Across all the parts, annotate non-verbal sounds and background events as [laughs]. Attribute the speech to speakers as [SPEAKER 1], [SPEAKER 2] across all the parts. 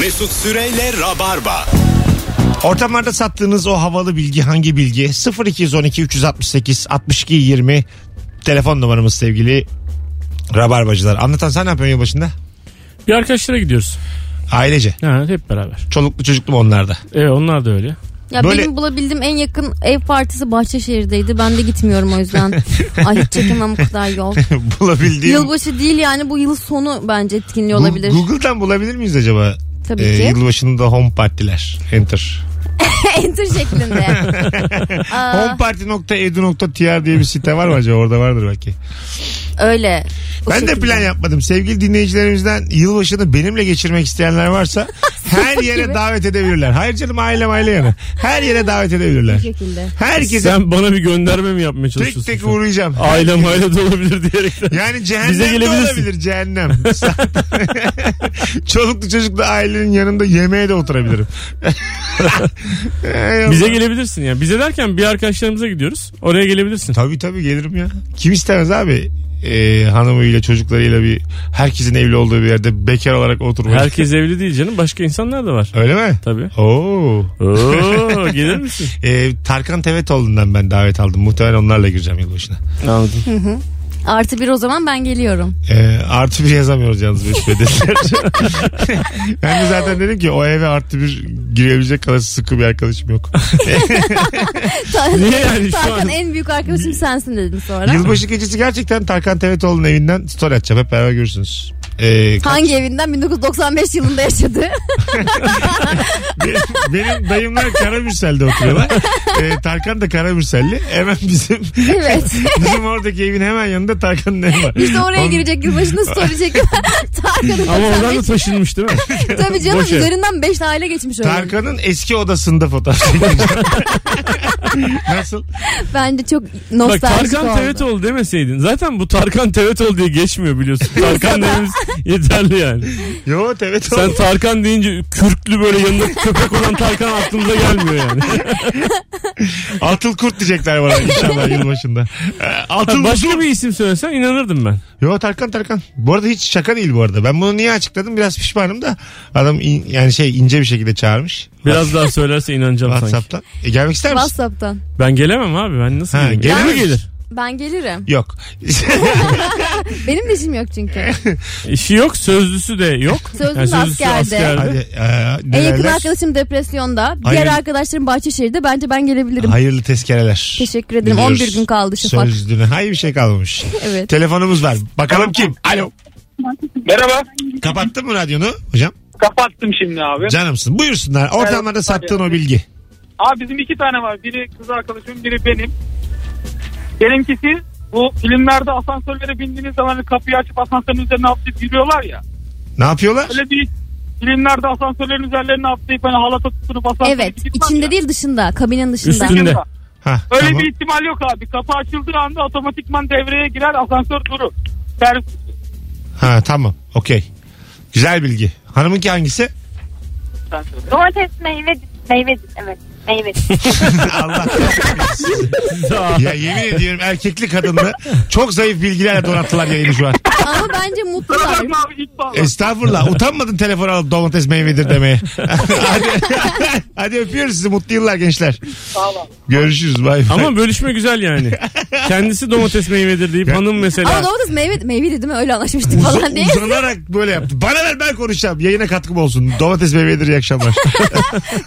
[SPEAKER 1] Mesut Süreyle Rabarba.
[SPEAKER 2] Ortamlarda sattığınız o havalı bilgi hangi bilgi? 0212 368 62 20 telefon numaramız sevgili Rabarbacılar. Anlatan sen ne yapıyorsun başında?
[SPEAKER 3] Bir arkadaşlara gidiyoruz.
[SPEAKER 2] Ailece.
[SPEAKER 3] Yani hep beraber.
[SPEAKER 2] Çoluklu çocuklu mu onlarda?
[SPEAKER 3] Evet onlar da öyle.
[SPEAKER 4] Ya
[SPEAKER 2] Böyle-
[SPEAKER 4] benim bulabildiğim en yakın ev partisi Bahçeşehir'deydi. Ben de gitmiyorum o
[SPEAKER 3] [laughs]
[SPEAKER 4] yüzden. Ay hiç çekemem bu kadar yol.
[SPEAKER 2] [laughs] Bulabildiğim...
[SPEAKER 4] Yılbaşı değil yani bu yıl sonu bence etkinliği
[SPEAKER 2] Gu-
[SPEAKER 4] olabilir.
[SPEAKER 2] Google'dan bulabilir miyiz acaba?
[SPEAKER 4] Tabii
[SPEAKER 3] e,
[SPEAKER 2] Ee,
[SPEAKER 4] ki.
[SPEAKER 2] yılbaşında home partiler. Enter.
[SPEAKER 4] [laughs]
[SPEAKER 3] [laughs]
[SPEAKER 4] Enter şeklinde. Aa,
[SPEAKER 2] Homeparty.edu.tr diye bir site var mı acaba? Orada vardır belki.
[SPEAKER 4] öyle. O
[SPEAKER 2] Ben de
[SPEAKER 4] şekilde.
[SPEAKER 2] plan yapmadım. Sevgili dinleyicilerimizden yılbaşını benimle geçirmek
[SPEAKER 4] [laughs]
[SPEAKER 2] isteyenler varsa her yere
[SPEAKER 4] gibi.
[SPEAKER 2] davet edebilirler. Hayır canım ailem aile yana. Her yere davet edebilirler.
[SPEAKER 4] Bu şekilde.
[SPEAKER 2] Herkese
[SPEAKER 3] Sen bana bir gönderme mi yapmaya çalışıyorsun?
[SPEAKER 2] tek tek
[SPEAKER 3] şu an?
[SPEAKER 2] uğrayacağım.
[SPEAKER 3] Ailem aile de olabilir diyerekten.
[SPEAKER 2] Yani cehennem
[SPEAKER 3] Bize
[SPEAKER 2] de
[SPEAKER 3] gelebilirsin.
[SPEAKER 2] olabilir cehennem. [laughs] Çoluklu çocuklu ailenin yanında yemeğe de oturabilirim. [laughs] Ey Allah.
[SPEAKER 3] Bize gelebilirsin yani. Bize derken bir arkadaşlarımıza gidiyoruz. Oraya gelebilirsin.
[SPEAKER 2] Tabii tabii gelirim ya. Kim istemez abi ee, hanımıyla çocuklarıyla bir herkesin evli olduğu bir yerde bekar olarak oturmayı.
[SPEAKER 3] Herkes evli değil canım. Başka insanlar da var.
[SPEAKER 2] Öyle mi?
[SPEAKER 3] Tabii.
[SPEAKER 2] Oo.
[SPEAKER 3] Oo, gelir
[SPEAKER 2] [laughs]
[SPEAKER 3] misin?
[SPEAKER 2] Ee, Tarkan Tevetoğlu'ndan ben davet aldım. Muhtemelen onlarla gireceğim yılbaşına.
[SPEAKER 3] Anladım.
[SPEAKER 4] Artı bir o zaman
[SPEAKER 3] [laughs]
[SPEAKER 4] ben geliyorum.
[SPEAKER 2] Ee, artı bir yazamıyoruz yalnız beş [laughs] bedeller. ben de zaten dedim ki o eve artı bir girebilecek kadar sıkı bir arkadaşım yok.
[SPEAKER 3] Niye yani şu
[SPEAKER 4] Zaten
[SPEAKER 3] an?
[SPEAKER 4] en büyük arkadaşım sensin dedim sonra.
[SPEAKER 2] Yılbaşı gecesi gerçekten Tarkan Tevetoğlu'nun evinden story atacağım. Hep beraber görürsünüz. Ee,
[SPEAKER 4] Hangi evinden 1995 yılında yaşadı? [laughs]
[SPEAKER 2] Benim, [laughs] benim dayımlar Karamürsel'de oturuyorlar. Ee, Tarkan da Karamürsel'li. Hemen bizim [laughs]
[SPEAKER 4] evet.
[SPEAKER 2] bizim oradaki evin hemen yanında Tarkan'ın evi var.
[SPEAKER 4] İşte oraya
[SPEAKER 2] Onun-
[SPEAKER 4] girecek yılbaşında
[SPEAKER 3] [laughs]
[SPEAKER 4] story çekip Tarkan'ın
[SPEAKER 3] Ama oradan da
[SPEAKER 4] 95
[SPEAKER 3] taşınmış değil mi?
[SPEAKER 4] [laughs] Tabii canım
[SPEAKER 3] Boş ev.
[SPEAKER 4] üzerinden 5 aile geçmiş öyle.
[SPEAKER 2] Tarkan'ın eski odasında fotoğraf çekeceğim. [laughs] Nasıl?
[SPEAKER 4] Bence çok
[SPEAKER 3] Bak
[SPEAKER 4] nostaljik
[SPEAKER 3] Tarkan
[SPEAKER 4] oldu.
[SPEAKER 3] Tevetoğlu demeseydin. Zaten bu Tarkan Tevetoğlu diye geçmiyor biliyorsun. Tarkan dememiz yeterli yani.
[SPEAKER 2] Yo Tevetoğlu.
[SPEAKER 3] Sen Tarkan deyince kürklü böyle yanında köpek olan Tarkan aklımıza gelmiyor yani.
[SPEAKER 2] Atıl Kurt diyecekler bana inşallah yılbaşında. Ee, Atıl
[SPEAKER 3] Başka bir isim söylesen inanırdım ben.
[SPEAKER 2] Yo Tarkan Tarkan. Bu arada hiç şaka değil bu arada. Ben bunu niye açıkladım biraz pişmanım da. Adam in- yani şey ince bir şekilde çağırmış.
[SPEAKER 3] Biraz daha söylerse inanacağım sanki.
[SPEAKER 2] WhatsApp'tan. E, gelmek ister misin?
[SPEAKER 4] WhatsApp'tan.
[SPEAKER 3] Ben gelemem abi ben nasıl
[SPEAKER 2] Ha,
[SPEAKER 3] geleyim? Gelir mi
[SPEAKER 2] gelemez.
[SPEAKER 3] gelir?
[SPEAKER 4] Ben gelirim.
[SPEAKER 2] Yok. [laughs]
[SPEAKER 4] Benim de işim yok
[SPEAKER 3] [laughs]
[SPEAKER 4] çünkü.
[SPEAKER 3] İşi yok sözlüsü de
[SPEAKER 4] [laughs]
[SPEAKER 3] yok.
[SPEAKER 4] Sözlüsü askerde.
[SPEAKER 2] Hadi, e,
[SPEAKER 4] en yakın
[SPEAKER 2] nelerler?
[SPEAKER 4] arkadaşım depresyonda. Diğer
[SPEAKER 2] Hayır.
[SPEAKER 4] arkadaşlarım Bahçeşehir'de. Bence ben gelebilirim.
[SPEAKER 2] Hayırlı tezkereler.
[SPEAKER 4] Teşekkür ederim. 11 gün kaldı Şafak.
[SPEAKER 2] Sözlüğüne. Hayır bir şey kalmamış.
[SPEAKER 4] [laughs] Evet.
[SPEAKER 2] Telefonumuz var. Bakalım kim? Alo.
[SPEAKER 5] Merhaba.
[SPEAKER 2] Kapattın mı radyonu hocam?
[SPEAKER 5] Kapattım şimdi abi.
[SPEAKER 2] Canımsın. Buyursunlar. Ortamlarda
[SPEAKER 5] Evet,
[SPEAKER 2] sattığın
[SPEAKER 5] tabii.
[SPEAKER 2] o bilgi.
[SPEAKER 5] Abi bizim iki tane var. Biri kız arkadaşım, biri benim. Benimkisi bu filmlerde asansörlere bindiğiniz zaman kapıyı açıp asansörün üzerine atlayıp giriyorlar ya.
[SPEAKER 2] Ne yapıyorlar?
[SPEAKER 5] Öyle bir filmlerde asansörlerin üzerlerine atlayıp hani halata tutunup asansöre
[SPEAKER 4] Evet.
[SPEAKER 5] gitmek
[SPEAKER 4] içinde
[SPEAKER 5] ya.
[SPEAKER 4] değil dışında. Kabinin dışında.
[SPEAKER 3] Üstünde.
[SPEAKER 2] Ha,
[SPEAKER 5] Öyle
[SPEAKER 2] tamam.
[SPEAKER 5] bir ihtimal yok abi. Kapı açıldığı anda otomatikman devreye girer asansör durur. Servis.
[SPEAKER 2] Ha, tamam. Okey. Güzel bilgi. Hanımınki hangisi? [laughs]
[SPEAKER 6] Domates meyve meyve evet meyve.
[SPEAKER 2] Allah. ya yemin ediyorum erkekli kadınlı çok zayıf bilgilerle donattılar yayını şu an.
[SPEAKER 4] [laughs] Ama bence
[SPEAKER 5] Kusura
[SPEAKER 4] mutlular.
[SPEAKER 5] bakma abi git bağla.
[SPEAKER 2] Estağfurullah. Utanmadın telefon alıp domates meyvedir demeye. [laughs] hadi, hadi öpüyoruz sizi. Mutlu yıllar gençler.
[SPEAKER 5] Sağ ol abi.
[SPEAKER 2] Görüşürüz. Bay bay.
[SPEAKER 3] Ama bölüşme güzel
[SPEAKER 2] [laughs]
[SPEAKER 3] yani. Kendisi domates meyvedir deyip hanım mesela.
[SPEAKER 4] Ama domates meyve, meyveydi değil mi? Öyle anlaşmıştık
[SPEAKER 2] Uza-
[SPEAKER 4] falan diye.
[SPEAKER 2] uzanarak böyle yaptı. Bana ver ben konuşacağım. Yayına katkım olsun. Domates meyvedir
[SPEAKER 4] [laughs]
[SPEAKER 2] iyi akşamlar.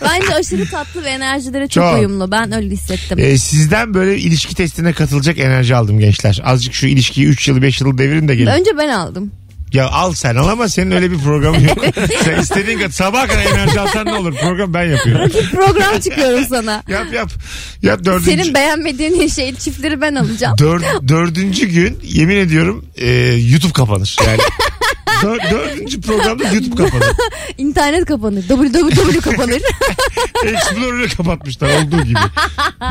[SPEAKER 4] Bence aşırı tatlı ve enerjilere çok,
[SPEAKER 2] Çok.
[SPEAKER 4] uyumlu. Ben öyle hissettim.
[SPEAKER 2] Ee, sizden böyle ilişki testine katılacak enerji aldım gençler. Azıcık şu ilişkiyi 3 yıl 5 yıl devirin de gelin.
[SPEAKER 4] Önce ben aldım.
[SPEAKER 2] Ya al sen al ama senin öyle bir programın
[SPEAKER 4] [laughs]
[SPEAKER 2] yok. sen istediğin kadar sabah kadar enerji alsan ne olur? Program ben yapıyorum.
[SPEAKER 4] Program çıkıyorum sana.
[SPEAKER 2] Yap yap. Yap dördüncü.
[SPEAKER 4] Senin beğenmediğin şey çiftleri ben alacağım.
[SPEAKER 2] Dör- dördüncü gün yemin ediyorum e, YouTube kapanır.
[SPEAKER 4] [laughs]
[SPEAKER 2] Yani Dör- dördüncü programda YouTube kapanır.
[SPEAKER 4] İnternet kapanır. www kapanır.
[SPEAKER 2] Explorer'ı kapatmışlar olduğu gibi.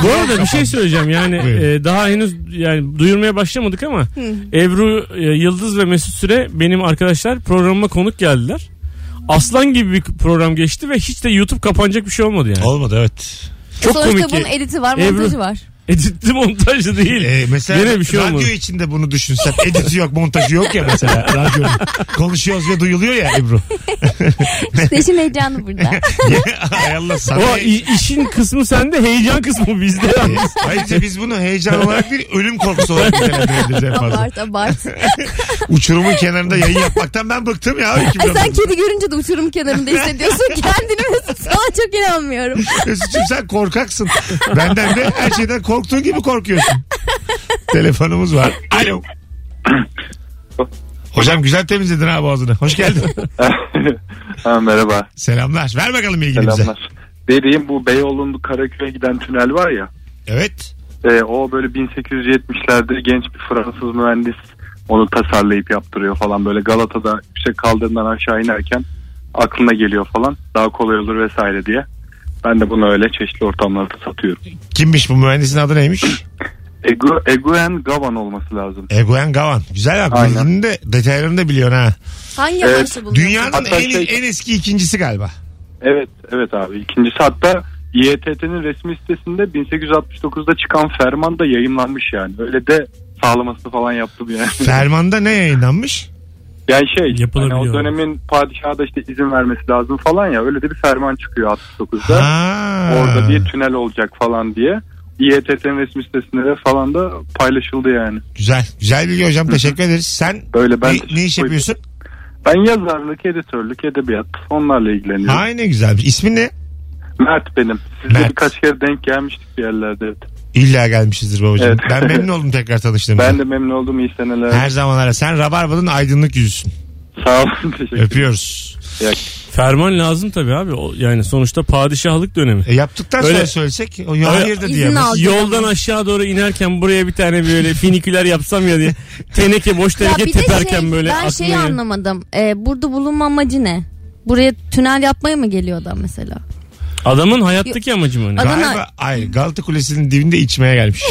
[SPEAKER 3] Bu arada bir şey söyleyeceğim yani
[SPEAKER 2] Buyurun.
[SPEAKER 3] e, daha henüz yani duyurmaya başlamadık ama Ebru e, Yıldız ve Mesut Süre benim arkadaşlar programıma konuk geldiler. Aslan gibi bir program geçti ve hiç de YouTube kapanacak bir şey olmadı yani.
[SPEAKER 2] Olmadı evet.
[SPEAKER 3] Çok
[SPEAKER 4] Sonuçta
[SPEAKER 3] komik.
[SPEAKER 4] bunun
[SPEAKER 3] ki-
[SPEAKER 4] editi var,
[SPEAKER 3] Ebru-
[SPEAKER 4] montajı var.
[SPEAKER 3] Editli montajlı değil.
[SPEAKER 2] Ee, mesela
[SPEAKER 3] Yine bir şey
[SPEAKER 2] radyo
[SPEAKER 3] olmadı.
[SPEAKER 2] içinde bunu düşünsen. Editi yok montajı yok ya mesela radyonun. Konuşuyoruz ve duyuluyor ya Ebru.
[SPEAKER 4] Eşin heyecanı [laughs] burada.
[SPEAKER 2] [laughs] Ay Allah sana.
[SPEAKER 3] O i- işin kısmı sende heyecan kısmı bizde yalnız.
[SPEAKER 2] Hayır işte biz bunu heyecan olarak değil ölüm korkusu olarak nitelendirebiliriz en fazla.
[SPEAKER 4] abart abart.
[SPEAKER 2] Uçurumun kenarında yayın yapmaktan ben bıktım ya.
[SPEAKER 4] Ay
[SPEAKER 2] 2019'da.
[SPEAKER 4] sen kedi görünce de uçurum kenarında [laughs] hissediyorsun kendini Mesut. Sana çok inanmıyorum.
[SPEAKER 2] Mesut'cum sen korkaksın. Benden de her şeyden korktuğun gibi korkuyorsun. Telefonumuz var. Alo. Hocam güzel temizledin ha boğazını. Hoş geldin.
[SPEAKER 7] [laughs] ha, merhaba.
[SPEAKER 2] Selamlar. Ver bakalım ilgini bize.
[SPEAKER 7] Selamlar. Dediğim bu Beyoğlu'nun Karaköy'e giden tünel var ya.
[SPEAKER 2] Evet.
[SPEAKER 7] E, o böyle 1870'lerde genç bir Fransız mühendis onu tasarlayıp yaptırıyor falan. Böyle Galata'da yüksek kaldırımdan aşağı inerken aklına geliyor falan. Daha kolay olur vesaire diye. Ben de bunu öyle çeşitli ortamlarda satıyorum.
[SPEAKER 2] Kimmiş bu mühendisin adı neymiş?
[SPEAKER 7] Ego, Eguen Gavan olması lazım.
[SPEAKER 2] Eguen Gavan. Güzel bak
[SPEAKER 7] Aynen.
[SPEAKER 2] bildiğini de detaylarını da biliyorsun ha.
[SPEAKER 4] Hangi
[SPEAKER 7] Evet.
[SPEAKER 4] amaçla bunu?
[SPEAKER 2] Dünyanın
[SPEAKER 7] Hatta
[SPEAKER 2] en,
[SPEAKER 7] şey-
[SPEAKER 2] en eski ikincisi galiba.
[SPEAKER 7] Evet evet abi. İkincisi hatta İETT'nin resmi sitesinde 1869'da çıkan ferman da yayınlanmış yani. Öyle de sağlaması falan yaptım yani.
[SPEAKER 2] Fermanda ne yayınlanmış?
[SPEAKER 7] [laughs] Yani şey hani
[SPEAKER 3] Yapılabiliyor.
[SPEAKER 7] o dönemin padişaha da işte izin vermesi lazım falan ya öyle de bir ferman çıkıyor 69'da.
[SPEAKER 2] Ha.
[SPEAKER 7] Orada bir tünel olacak falan diye. İETT'nin resmi sitesinde de falan da paylaşıldı yani.
[SPEAKER 2] Güzel. Güzel bilgi hocam. Teşekkür ederiz. Sen
[SPEAKER 7] Böyle ben
[SPEAKER 2] ne, ne iş yapıyorsun?
[SPEAKER 7] Ben yazarlık, editörlük, edebiyat onlarla ilgileniyorum.
[SPEAKER 2] Ha ne güzel. İsmin ne?
[SPEAKER 7] Mert benim. Sizle
[SPEAKER 2] Mert.
[SPEAKER 7] birkaç kere denk gelmiştik bir yerlerde. evet.
[SPEAKER 2] İlla gelmişizdir babacığım.
[SPEAKER 7] Evet.
[SPEAKER 2] Ben
[SPEAKER 7] [laughs]
[SPEAKER 2] memnun oldum tekrar tanıştığımda.
[SPEAKER 7] Ben de memnun oldum iyi seneler.
[SPEAKER 2] Her zaman ara. Sen Rabarba'nın aydınlık yüzüsün.
[SPEAKER 7] Sağ olun [laughs] teşekkür ederim.
[SPEAKER 2] Öpüyoruz.
[SPEAKER 3] Ferman lazım tabii abi. O, yani sonuçta padişahlık dönemi.
[SPEAKER 2] E, yaptıktan
[SPEAKER 3] Öyle-
[SPEAKER 2] sonra söylesek o hayır da
[SPEAKER 4] İzin
[SPEAKER 2] diyemez.
[SPEAKER 4] al. Aldım
[SPEAKER 3] Yoldan aşağı doğru inerken buraya bir tane böyle finiküler yapsam ya diye teneke boş
[SPEAKER 4] Ya
[SPEAKER 3] teneke
[SPEAKER 4] bir de
[SPEAKER 3] teperken
[SPEAKER 4] şey,
[SPEAKER 3] böyle
[SPEAKER 4] ben şeyi
[SPEAKER 3] aklına-
[SPEAKER 4] anlamadım. Ee, burada bulunma amacı ne? Buraya tünel yapmaya mı geliyor adam mesela?
[SPEAKER 3] Adamın hayattaki amacı mı? önemli?
[SPEAKER 4] Adam-
[SPEAKER 2] Galiba hayır Galata Kulesi'nin dibinde
[SPEAKER 3] [laughs]
[SPEAKER 2] içmeye gelmiş.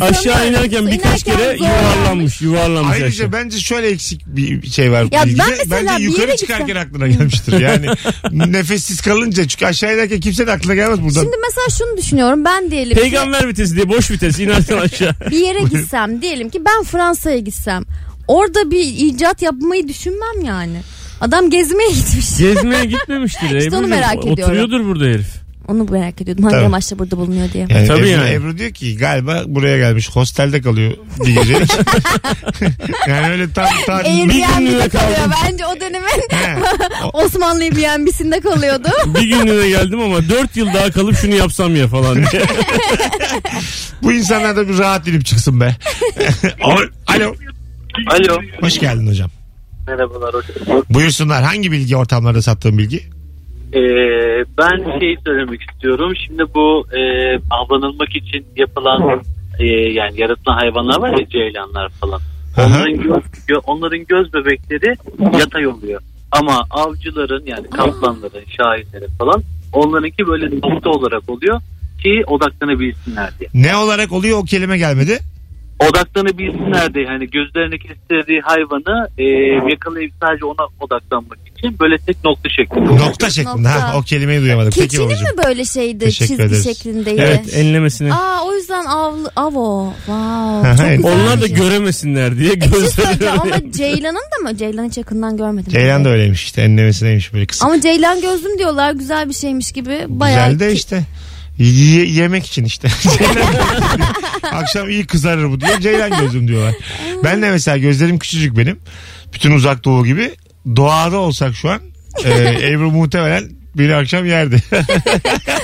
[SPEAKER 3] Aşağı inerken birkaç
[SPEAKER 4] İnerken
[SPEAKER 3] kere
[SPEAKER 4] zor.
[SPEAKER 3] yuvarlanmış yuvarlanmış aşağı.
[SPEAKER 2] Ayrıca bence şöyle eksik bir şey var.
[SPEAKER 4] Ya
[SPEAKER 2] bilgide.
[SPEAKER 4] ben mesela
[SPEAKER 2] bence
[SPEAKER 4] bir
[SPEAKER 2] yukarı
[SPEAKER 4] yere
[SPEAKER 2] çıkarken
[SPEAKER 4] gitsem-
[SPEAKER 2] aklına gelmiştir.
[SPEAKER 4] [laughs]
[SPEAKER 2] Yani nefessiz kalınca çünkü aşağı inerken kimse de aklına gelmez buradan.
[SPEAKER 4] Şimdi mesela şunu düşünüyorum. Ben diyelim ki
[SPEAKER 3] Peygamber vitesi diye boş vites inerken
[SPEAKER 2] [laughs]
[SPEAKER 3] aşağı.
[SPEAKER 4] bir
[SPEAKER 3] [laughs]
[SPEAKER 4] yere gitsem diyelim ki ben Fransa'ya gitsem. Orada bir icat yapmayı düşünmem yani. Adam gezmeye gitmiş.
[SPEAKER 3] Gezmeye gitmemiştir.
[SPEAKER 4] İşte onu
[SPEAKER 3] Ebru'cum.
[SPEAKER 4] merak ediyorum.
[SPEAKER 3] Oturuyordur burada herif.
[SPEAKER 4] Onu merak ediyordum. Hangi
[SPEAKER 2] Tabii.
[SPEAKER 4] amaçla burada bulunuyor diye.
[SPEAKER 2] Yani
[SPEAKER 3] Tabii
[SPEAKER 2] Ebru,
[SPEAKER 3] yani.
[SPEAKER 2] Ebru diyor ki galiba buraya gelmiş hostelde kalıyor bir gece.
[SPEAKER 4] [laughs]
[SPEAKER 2] [laughs] yani öyle tam tam
[SPEAKER 4] Airbnb'de
[SPEAKER 3] günlüğüne
[SPEAKER 4] kalıyor.
[SPEAKER 3] kaldım.
[SPEAKER 4] Bence o dönemin [laughs] Osmanlı Airbnb'sinde kalıyordu.
[SPEAKER 3] Bir günlüğüne geldim ama 4 yıl daha kalıp şunu yapsam ya falan [laughs] diye.
[SPEAKER 2] bu insanlar da bir rahat edip çıksın be. Alo. Alo.
[SPEAKER 8] Alo.
[SPEAKER 2] Hoş geldin hocam.
[SPEAKER 8] Merhabalar.
[SPEAKER 2] Buyursunlar hangi bilgi ortamlarda sattığın bilgi?
[SPEAKER 8] Ee, ben şey söylemek istiyorum. Şimdi bu e, avlanılmak için yapılan e, yani yaratılan hayvanlar var ya ceylanlar falan.
[SPEAKER 2] Aha.
[SPEAKER 8] Onların göz, gö- onların göz bebekleri yatay oluyor. Ama avcıların yani kaplanların, şahinlerin falan onlarınki böyle nokta olarak oluyor ki odaklanabilsinler diye.
[SPEAKER 2] Ne olarak oluyor o kelime gelmedi.
[SPEAKER 8] Odaklanabilsinler diye hani gözlerini kestirdiği hayvanı e, yakalayıp sadece ona odaklanmak için böyle tek nokta şeklinde. oluyor.
[SPEAKER 2] Nokta şeklinde.
[SPEAKER 4] Nokta.
[SPEAKER 2] Ha, o kelimeyi duyamadım. [laughs] Peki
[SPEAKER 4] Keçinin
[SPEAKER 2] babacığım.
[SPEAKER 4] mi böyle şeydi?
[SPEAKER 2] Teşekkür
[SPEAKER 4] çizgi
[SPEAKER 2] ederiz. e-
[SPEAKER 4] şeklindeydi.
[SPEAKER 3] evet enlemesine.
[SPEAKER 4] Aa o yüzden avlı, avo.
[SPEAKER 2] Aha,
[SPEAKER 4] Wow. Çok
[SPEAKER 2] evet.
[SPEAKER 4] güzel
[SPEAKER 3] Onlar da
[SPEAKER 4] bir şey.
[SPEAKER 3] göremesinler diye
[SPEAKER 4] E, bir şey söyleyeceğim
[SPEAKER 3] gözlerini.
[SPEAKER 4] ama Ceylan'ın da mı? Ceylan hiç yakından görmedim.
[SPEAKER 2] Ceylan da öyleymiş işte enlemesineymiş böyle kısa.
[SPEAKER 4] Ama Ceylan gözlüm diyorlar güzel bir şeymiş gibi. Bayağı
[SPEAKER 2] Güzel de işte. Y- yemek için işte. [laughs] Ceylan gözüm. Akşam iyi kızarır bu diyor. Ceylan gözüm diyorlar. Ben de mesela gözlerim küçücük benim. Bütün uzak doğu gibi. Doğada olsak şu an e,
[SPEAKER 4] [laughs]
[SPEAKER 2] Ebru muhtemelen beni akşam yerdi.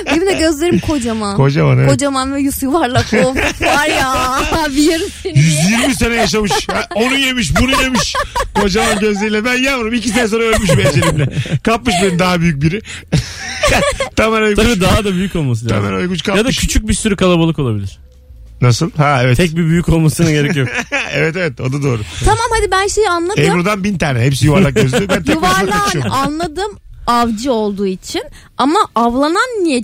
[SPEAKER 4] Benim de gözlerim kocaman.
[SPEAKER 2] [laughs] Kocaman evet.
[SPEAKER 4] Kocaman ve yüz yuvarlak
[SPEAKER 2] [laughs]
[SPEAKER 4] of var ya bir yerim seni diye.
[SPEAKER 2] 120 sene yaşamış. Ha, Onu yemiş bunu yemiş. Kocaman gözleriyle. Ben yavrum iki sene sonra ölmüş becerimle. Kapmış beni daha büyük biri. [laughs] Tamer Uyguç.
[SPEAKER 3] Tabii daha da büyük olması lazım.
[SPEAKER 2] Tamer Uyguç kapmış.
[SPEAKER 3] Ya da küçük bir sürü kalabalık olabilir.
[SPEAKER 2] Nasıl? Ha evet.
[SPEAKER 3] Tek bir büyük olmasına gerek [laughs] yok.
[SPEAKER 2] evet evet o da doğru.
[SPEAKER 4] Tamam hadi ben şeyi anladım.
[SPEAKER 2] Ebru'dan bin tane. Hepsi yuvarlak gözlü. Ben tek başıma
[SPEAKER 4] Yuvarlan
[SPEAKER 2] kaçıyorum.
[SPEAKER 4] anladım avcı olduğu için ama avlanan niye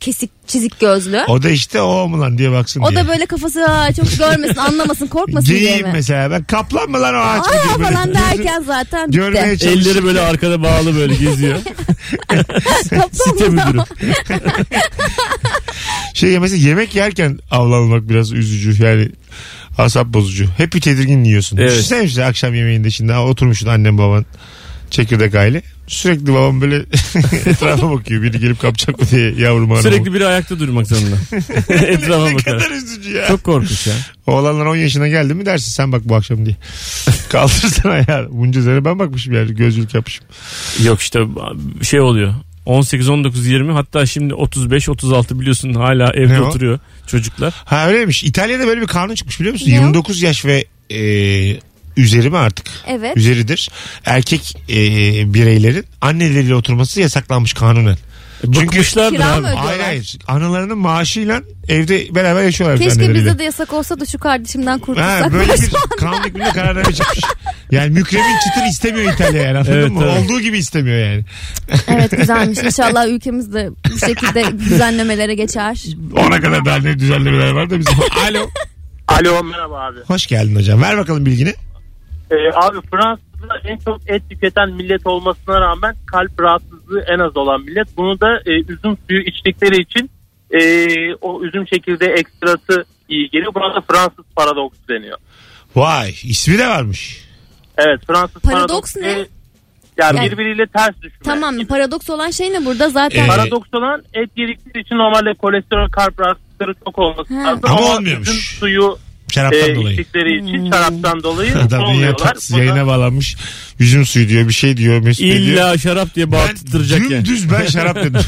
[SPEAKER 4] kesik çizik gözlü?
[SPEAKER 2] O da işte o mu lan diye baksın
[SPEAKER 4] O
[SPEAKER 2] diye.
[SPEAKER 4] da böyle kafası "Aa, çok görmesin anlamasın korkmasın diye
[SPEAKER 2] Geyik
[SPEAKER 4] mi?
[SPEAKER 2] mesela ben kaplan mı lan o ağaç mı
[SPEAKER 4] Aa
[SPEAKER 2] diye böyle
[SPEAKER 4] falan
[SPEAKER 2] gözü-
[SPEAKER 4] derken zaten [laughs]
[SPEAKER 2] Görmeye
[SPEAKER 4] bitti.
[SPEAKER 2] çalış.
[SPEAKER 3] Elleri böyle arkada bağlı böyle geziyor. Site müdürü.
[SPEAKER 2] Şey mesela yemek yerken avlanmak biraz üzücü yani asap bozucu. Hep bir tedirgin yiyorsun.
[SPEAKER 3] Evet.
[SPEAKER 2] Düşünsene işte akşam yemeğinde şimdi ha, oturmuşsun annem baban Çekirdek aile. Sürekli babam böyle [laughs] etrafa bakıyor. Biri gelip kapacak mı diye yavrum hanımı.
[SPEAKER 3] Sürekli biri ayakta durmak [laughs] zorunda. Etrafa
[SPEAKER 2] ne kadar
[SPEAKER 3] bakar.
[SPEAKER 2] üzücü ya.
[SPEAKER 3] Çok korkunç ya.
[SPEAKER 2] Oğlanlar 10 yaşına geldi mi dersin sen bak bu
[SPEAKER 3] [laughs]
[SPEAKER 2] akşam diye. Kaldırsana ya. Bunca sene ben bakmışım yani gözlük yapmışım.
[SPEAKER 3] Yok işte şey oluyor. 18, 19, 20 hatta şimdi 35, 36 biliyorsun hala evde
[SPEAKER 2] Ne o?
[SPEAKER 3] oturuyor çocuklar.
[SPEAKER 2] Ha öyleymiş. İtalya'da böyle bir kanun çıkmış biliyor musun?
[SPEAKER 4] Ne o?
[SPEAKER 2] 29 yaş ve e, üzeri mi artık?
[SPEAKER 4] Evet.
[SPEAKER 2] Üzeridir. Erkek e, bireylerin anneleriyle oturması yasaklanmış kanunen. Çünkü-
[SPEAKER 3] Bıkmışlardır
[SPEAKER 4] Kira
[SPEAKER 3] abi.
[SPEAKER 4] mı? Ödüyorlar.
[SPEAKER 2] Hayır hayır. Analarının maaşıyla evde beraber yaşıyorlar.
[SPEAKER 4] Keşke
[SPEAKER 2] anneleriyle.
[SPEAKER 4] bizde de yasak olsa da şu kardeşimden
[SPEAKER 2] Ha,
[SPEAKER 4] kurtulsak.
[SPEAKER 2] böyle bir kanun hükmünde kararname çıkmış. Yani mükremin çıtır istemiyor İtalya yani anladın
[SPEAKER 3] Evet,
[SPEAKER 2] mı?
[SPEAKER 3] evet.
[SPEAKER 2] Olduğu gibi istemiyor yani.
[SPEAKER 4] [laughs] evet güzelmiş. İnşallah ülkemizde bu şekilde düzenlemelere geçer.
[SPEAKER 2] Ona kadar daha ne düzenlemeler var da bizim. Alo.
[SPEAKER 5] Alo merhaba abi.
[SPEAKER 2] Hoş geldin hocam. Ver bakalım bilgini.
[SPEAKER 5] Ee, abi Fransa'da en çok et tüketen millet olmasına rağmen kalp rahatsızlığı en az olan millet. Bunu da e, üzüm suyu içtikleri için e, o üzüm çekirdeği ekstrası iyi geliyor. Buna da Fransız paradoks deniyor.
[SPEAKER 2] Vay ismi de varmış.
[SPEAKER 5] Evet Fransız
[SPEAKER 4] Paradoks
[SPEAKER 5] paradoks,
[SPEAKER 4] ne?
[SPEAKER 5] e, Yani,
[SPEAKER 4] Yani-
[SPEAKER 5] birbiriyle ters düşme.
[SPEAKER 4] Tamam paradoks olan şey ne burada zaten?
[SPEAKER 2] Ee,
[SPEAKER 5] Paradoks olan et yedikleri için normalde kolesterol kalp rahatsızlıkları çok olması
[SPEAKER 4] Ha.
[SPEAKER 5] lazım.
[SPEAKER 2] Ama
[SPEAKER 5] Ama,
[SPEAKER 2] olmuyormuş.
[SPEAKER 5] üzüm suyu
[SPEAKER 2] Şaraptan
[SPEAKER 5] e,
[SPEAKER 2] dolayı.
[SPEAKER 5] içtikleri için şaraptan dolayı
[SPEAKER 2] [laughs] Adam dünya
[SPEAKER 5] olmuyorlar.
[SPEAKER 2] tatlısı
[SPEAKER 5] Bu da-
[SPEAKER 2] yayına bağlanmış. Yüzüm suyu diyor bir şey diyor. Mesut diyor.
[SPEAKER 3] İlla şarap diye bağırttıracak
[SPEAKER 2] ben,
[SPEAKER 3] yani.
[SPEAKER 2] Düz ben şarap
[SPEAKER 5] [laughs]
[SPEAKER 2] dedim.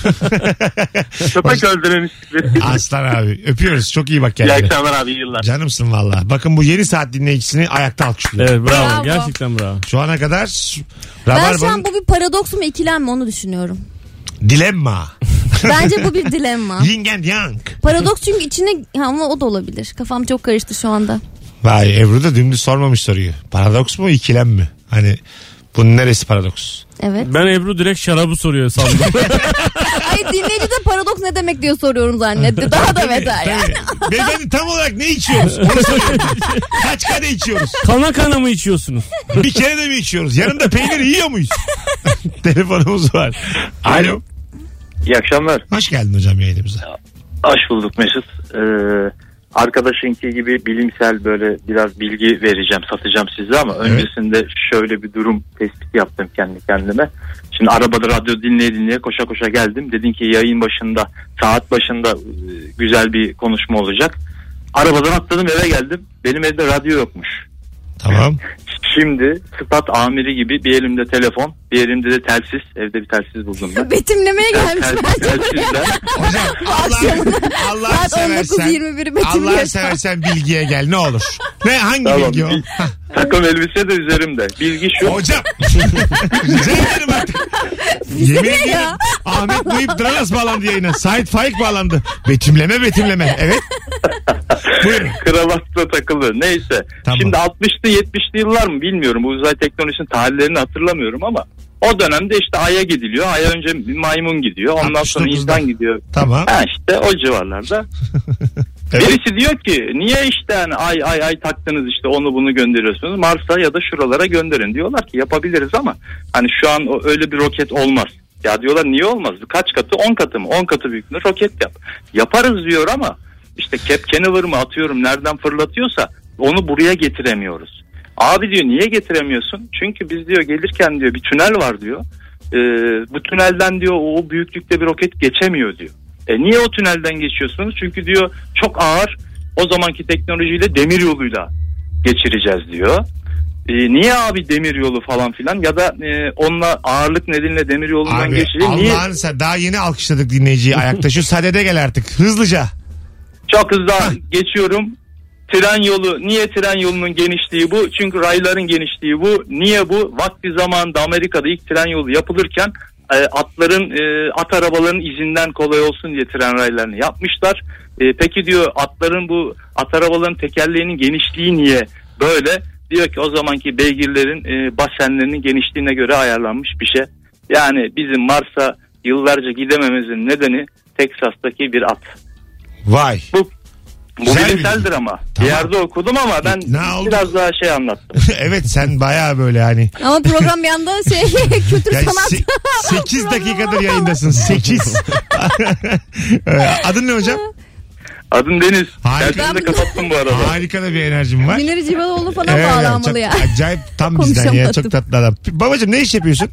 [SPEAKER 5] Köpek öldüren işleri.
[SPEAKER 2] Aslan abi öpüyoruz. Çok iyi bak
[SPEAKER 5] İyi
[SPEAKER 2] kendine.
[SPEAKER 5] akşamlar abi iyi yıllar.
[SPEAKER 2] Canımsın valla. Bakın bu yeni saat dinleyicisini ayakta alkışlıyor.
[SPEAKER 3] Evet bravo.
[SPEAKER 4] Bravo.
[SPEAKER 3] Gerçekten bravo.
[SPEAKER 2] Şu ana kadar
[SPEAKER 4] Ben şu an
[SPEAKER 2] Rabarba'nın
[SPEAKER 4] bu bir paradoks mu ikilem mi onu düşünüyorum.
[SPEAKER 2] dilemma.
[SPEAKER 4] Bence bu bir
[SPEAKER 2] [laughs]
[SPEAKER 4] dilemma.
[SPEAKER 2] Yin and yang.
[SPEAKER 4] Paradoks çünkü içine ha, ama o da olabilir. Kafam çok karıştı şu anda.
[SPEAKER 2] Vay Ebru da dümdüz sormamış soruyu. Paradoks mu ikilem mi? Hani bunun neresi paradoks?
[SPEAKER 4] Evet.
[SPEAKER 3] [laughs] Ben Ebru direkt şarabı soruyor sandım.
[SPEAKER 4] Ay dinleyici de paradoks ne demek diyor soruyorum zannetti. Daha da beter yani.
[SPEAKER 2] Tabii. Beyefendi tam olarak ne içiyoruz? Onu soruyorum. Kaç kade içiyoruz?
[SPEAKER 3] kana kana mı içiyorsunuz?
[SPEAKER 2] Bir kere de mi içiyoruz? Yanında peynir yiyor muyuz? [laughs] Telefonumuz var. Alo.
[SPEAKER 7] İyi akşamlar.
[SPEAKER 2] Hoş geldin hocam yayınımıza.
[SPEAKER 7] Hoş bulduk Mesut. Ee, arkadaşınki gibi bilimsel böyle biraz bilgi vereceğim, satacağım size ama öncesinde şöyle bir durum tespit yaptım kendi kendime. Şimdi arabada radyo dinleye dinleye koşa koşa geldim. Dedin ki yayın başında, saat başında e, güzel bir konuşma olacak. Arabadan atladım eve geldim. Benim evde radyo yokmuş.
[SPEAKER 2] Tamam.
[SPEAKER 7] Şimdi stat amiri gibi bir elimde telefon, bir elimde de telsiz. Evde bir telsiz buldum
[SPEAKER 4] [laughs]
[SPEAKER 7] ben.
[SPEAKER 4] Betimlemeye gelmiş
[SPEAKER 7] Tel-
[SPEAKER 4] bence.
[SPEAKER 7] telsizle
[SPEAKER 2] Hocam Allah,
[SPEAKER 4] Akşamına
[SPEAKER 2] Allah
[SPEAKER 4] Saat
[SPEAKER 2] seversen.
[SPEAKER 4] 19.21
[SPEAKER 2] Allah
[SPEAKER 4] betimliyor.
[SPEAKER 2] seversen bilgiye gel ne olur. Ne hangi
[SPEAKER 7] Tamam.
[SPEAKER 2] bilgi o?
[SPEAKER 7] Bil- Takım elbise de üzerimde. Bilgi
[SPEAKER 4] [laughs]
[SPEAKER 7] şu.
[SPEAKER 2] Hocam. Rica ederim artık. Yemin ediyorum. Ahmet Muhip Dranas bağlandı yayına. Sait Faik bağlandı. Betimleme betimleme. Evet. Buyurun.
[SPEAKER 7] Kravatla takılı. Neyse.
[SPEAKER 2] Tamam.
[SPEAKER 7] Şimdi 60'lı 70'li yıllar mı bilmiyorum. Bu uzay teknolojisinin tarihlerini hatırlamıyorum ama o dönemde işte Ay'a gidiliyor. Ay'a önce bir maymun gidiyor. Ondan sonra
[SPEAKER 2] 69'da.
[SPEAKER 7] insan gidiyor.
[SPEAKER 2] Tamam.
[SPEAKER 7] Ha işte o civarlarda.
[SPEAKER 2] Evet.
[SPEAKER 7] Birisi diyor ki niye işte hani ay ay ay taktınız işte onu bunu gönderiyorsunuz. Mars'a ya da şuralara gönderin. Diyorlar ki yapabiliriz ama hani şu an o- öyle bir roket olmaz. Ya diyorlar niye olmaz? Kaç katı? 10 katı mı? 10 katı büyüklüğünde roket yap. Yaparız diyor ama işte Cap mı atıyorum nereden fırlatıyorsa onu buraya getiremiyoruz. Abi diyor niye getiremiyorsun? Çünkü biz diyor gelirken diyor bir tünel var diyor. Ee, bu tünelden diyor o büyüklükte bir roket geçemiyor diyor. E niye o tünelden geçiyorsunuz? Çünkü diyor çok ağır o zamanki teknolojiyle demir yoluyla geçireceğiz diyor. E, niye abi demir yolu falan filan ya da e, onunla ağırlık nedeniyle demir yolundan
[SPEAKER 2] Abi
[SPEAKER 7] geçirir. Niye?
[SPEAKER 2] Allah'ın sen daha yeni alkışladık dinleyiciyi ayakta. Şu sadede gel artık hızlıca.
[SPEAKER 7] Çok hızlı geçiyorum. Tren yolu niye tren yolunun genişliği bu? Çünkü rayların genişliği bu. Niye bu? Vakti zamanında Amerika'da ilk tren yolu yapılırken e, atların e, at arabaların izinden kolay olsun diye tren raylarını yapmışlar. E, peki diyor atların bu at arabaların tekerleğinin genişliği niye böyle? Diyor ki o zamanki beygirlerin e, basenlerinin genişliğine göre ayarlanmış bir şey. Yani bizim Mars'a yıllarca gidememizin nedeni Teksas'taki bir at.
[SPEAKER 2] Vay.
[SPEAKER 7] Bu
[SPEAKER 2] Güzel
[SPEAKER 7] bilimseldir ama.
[SPEAKER 2] Tamam.
[SPEAKER 7] Bir yerde okudum ama ben
[SPEAKER 2] Ne oldu? [laughs]
[SPEAKER 7] biraz daha şey anlattım.
[SPEAKER 2] evet sen baya böyle hani.
[SPEAKER 4] Ama program bir anda şey kültür
[SPEAKER 2] Yani
[SPEAKER 4] sanat. [laughs]
[SPEAKER 2] [laughs] 8 dakikadır yayındasın. 8. Adın ne hocam?
[SPEAKER 7] Adım Deniz.
[SPEAKER 2] Harika.
[SPEAKER 7] Gerçekten de
[SPEAKER 4] Ben-
[SPEAKER 7] kapattım bu arada.
[SPEAKER 2] Harika da bir enerjim var.
[SPEAKER 4] Münir Cibaloğlu falan
[SPEAKER 2] Evet,
[SPEAKER 4] bağlanmalı
[SPEAKER 2] çok
[SPEAKER 4] ya.
[SPEAKER 2] Acayip tam bizden ya.
[SPEAKER 4] Konuşamadım.
[SPEAKER 2] Çok tatlı adam. Babacım ne iş yapıyorsun?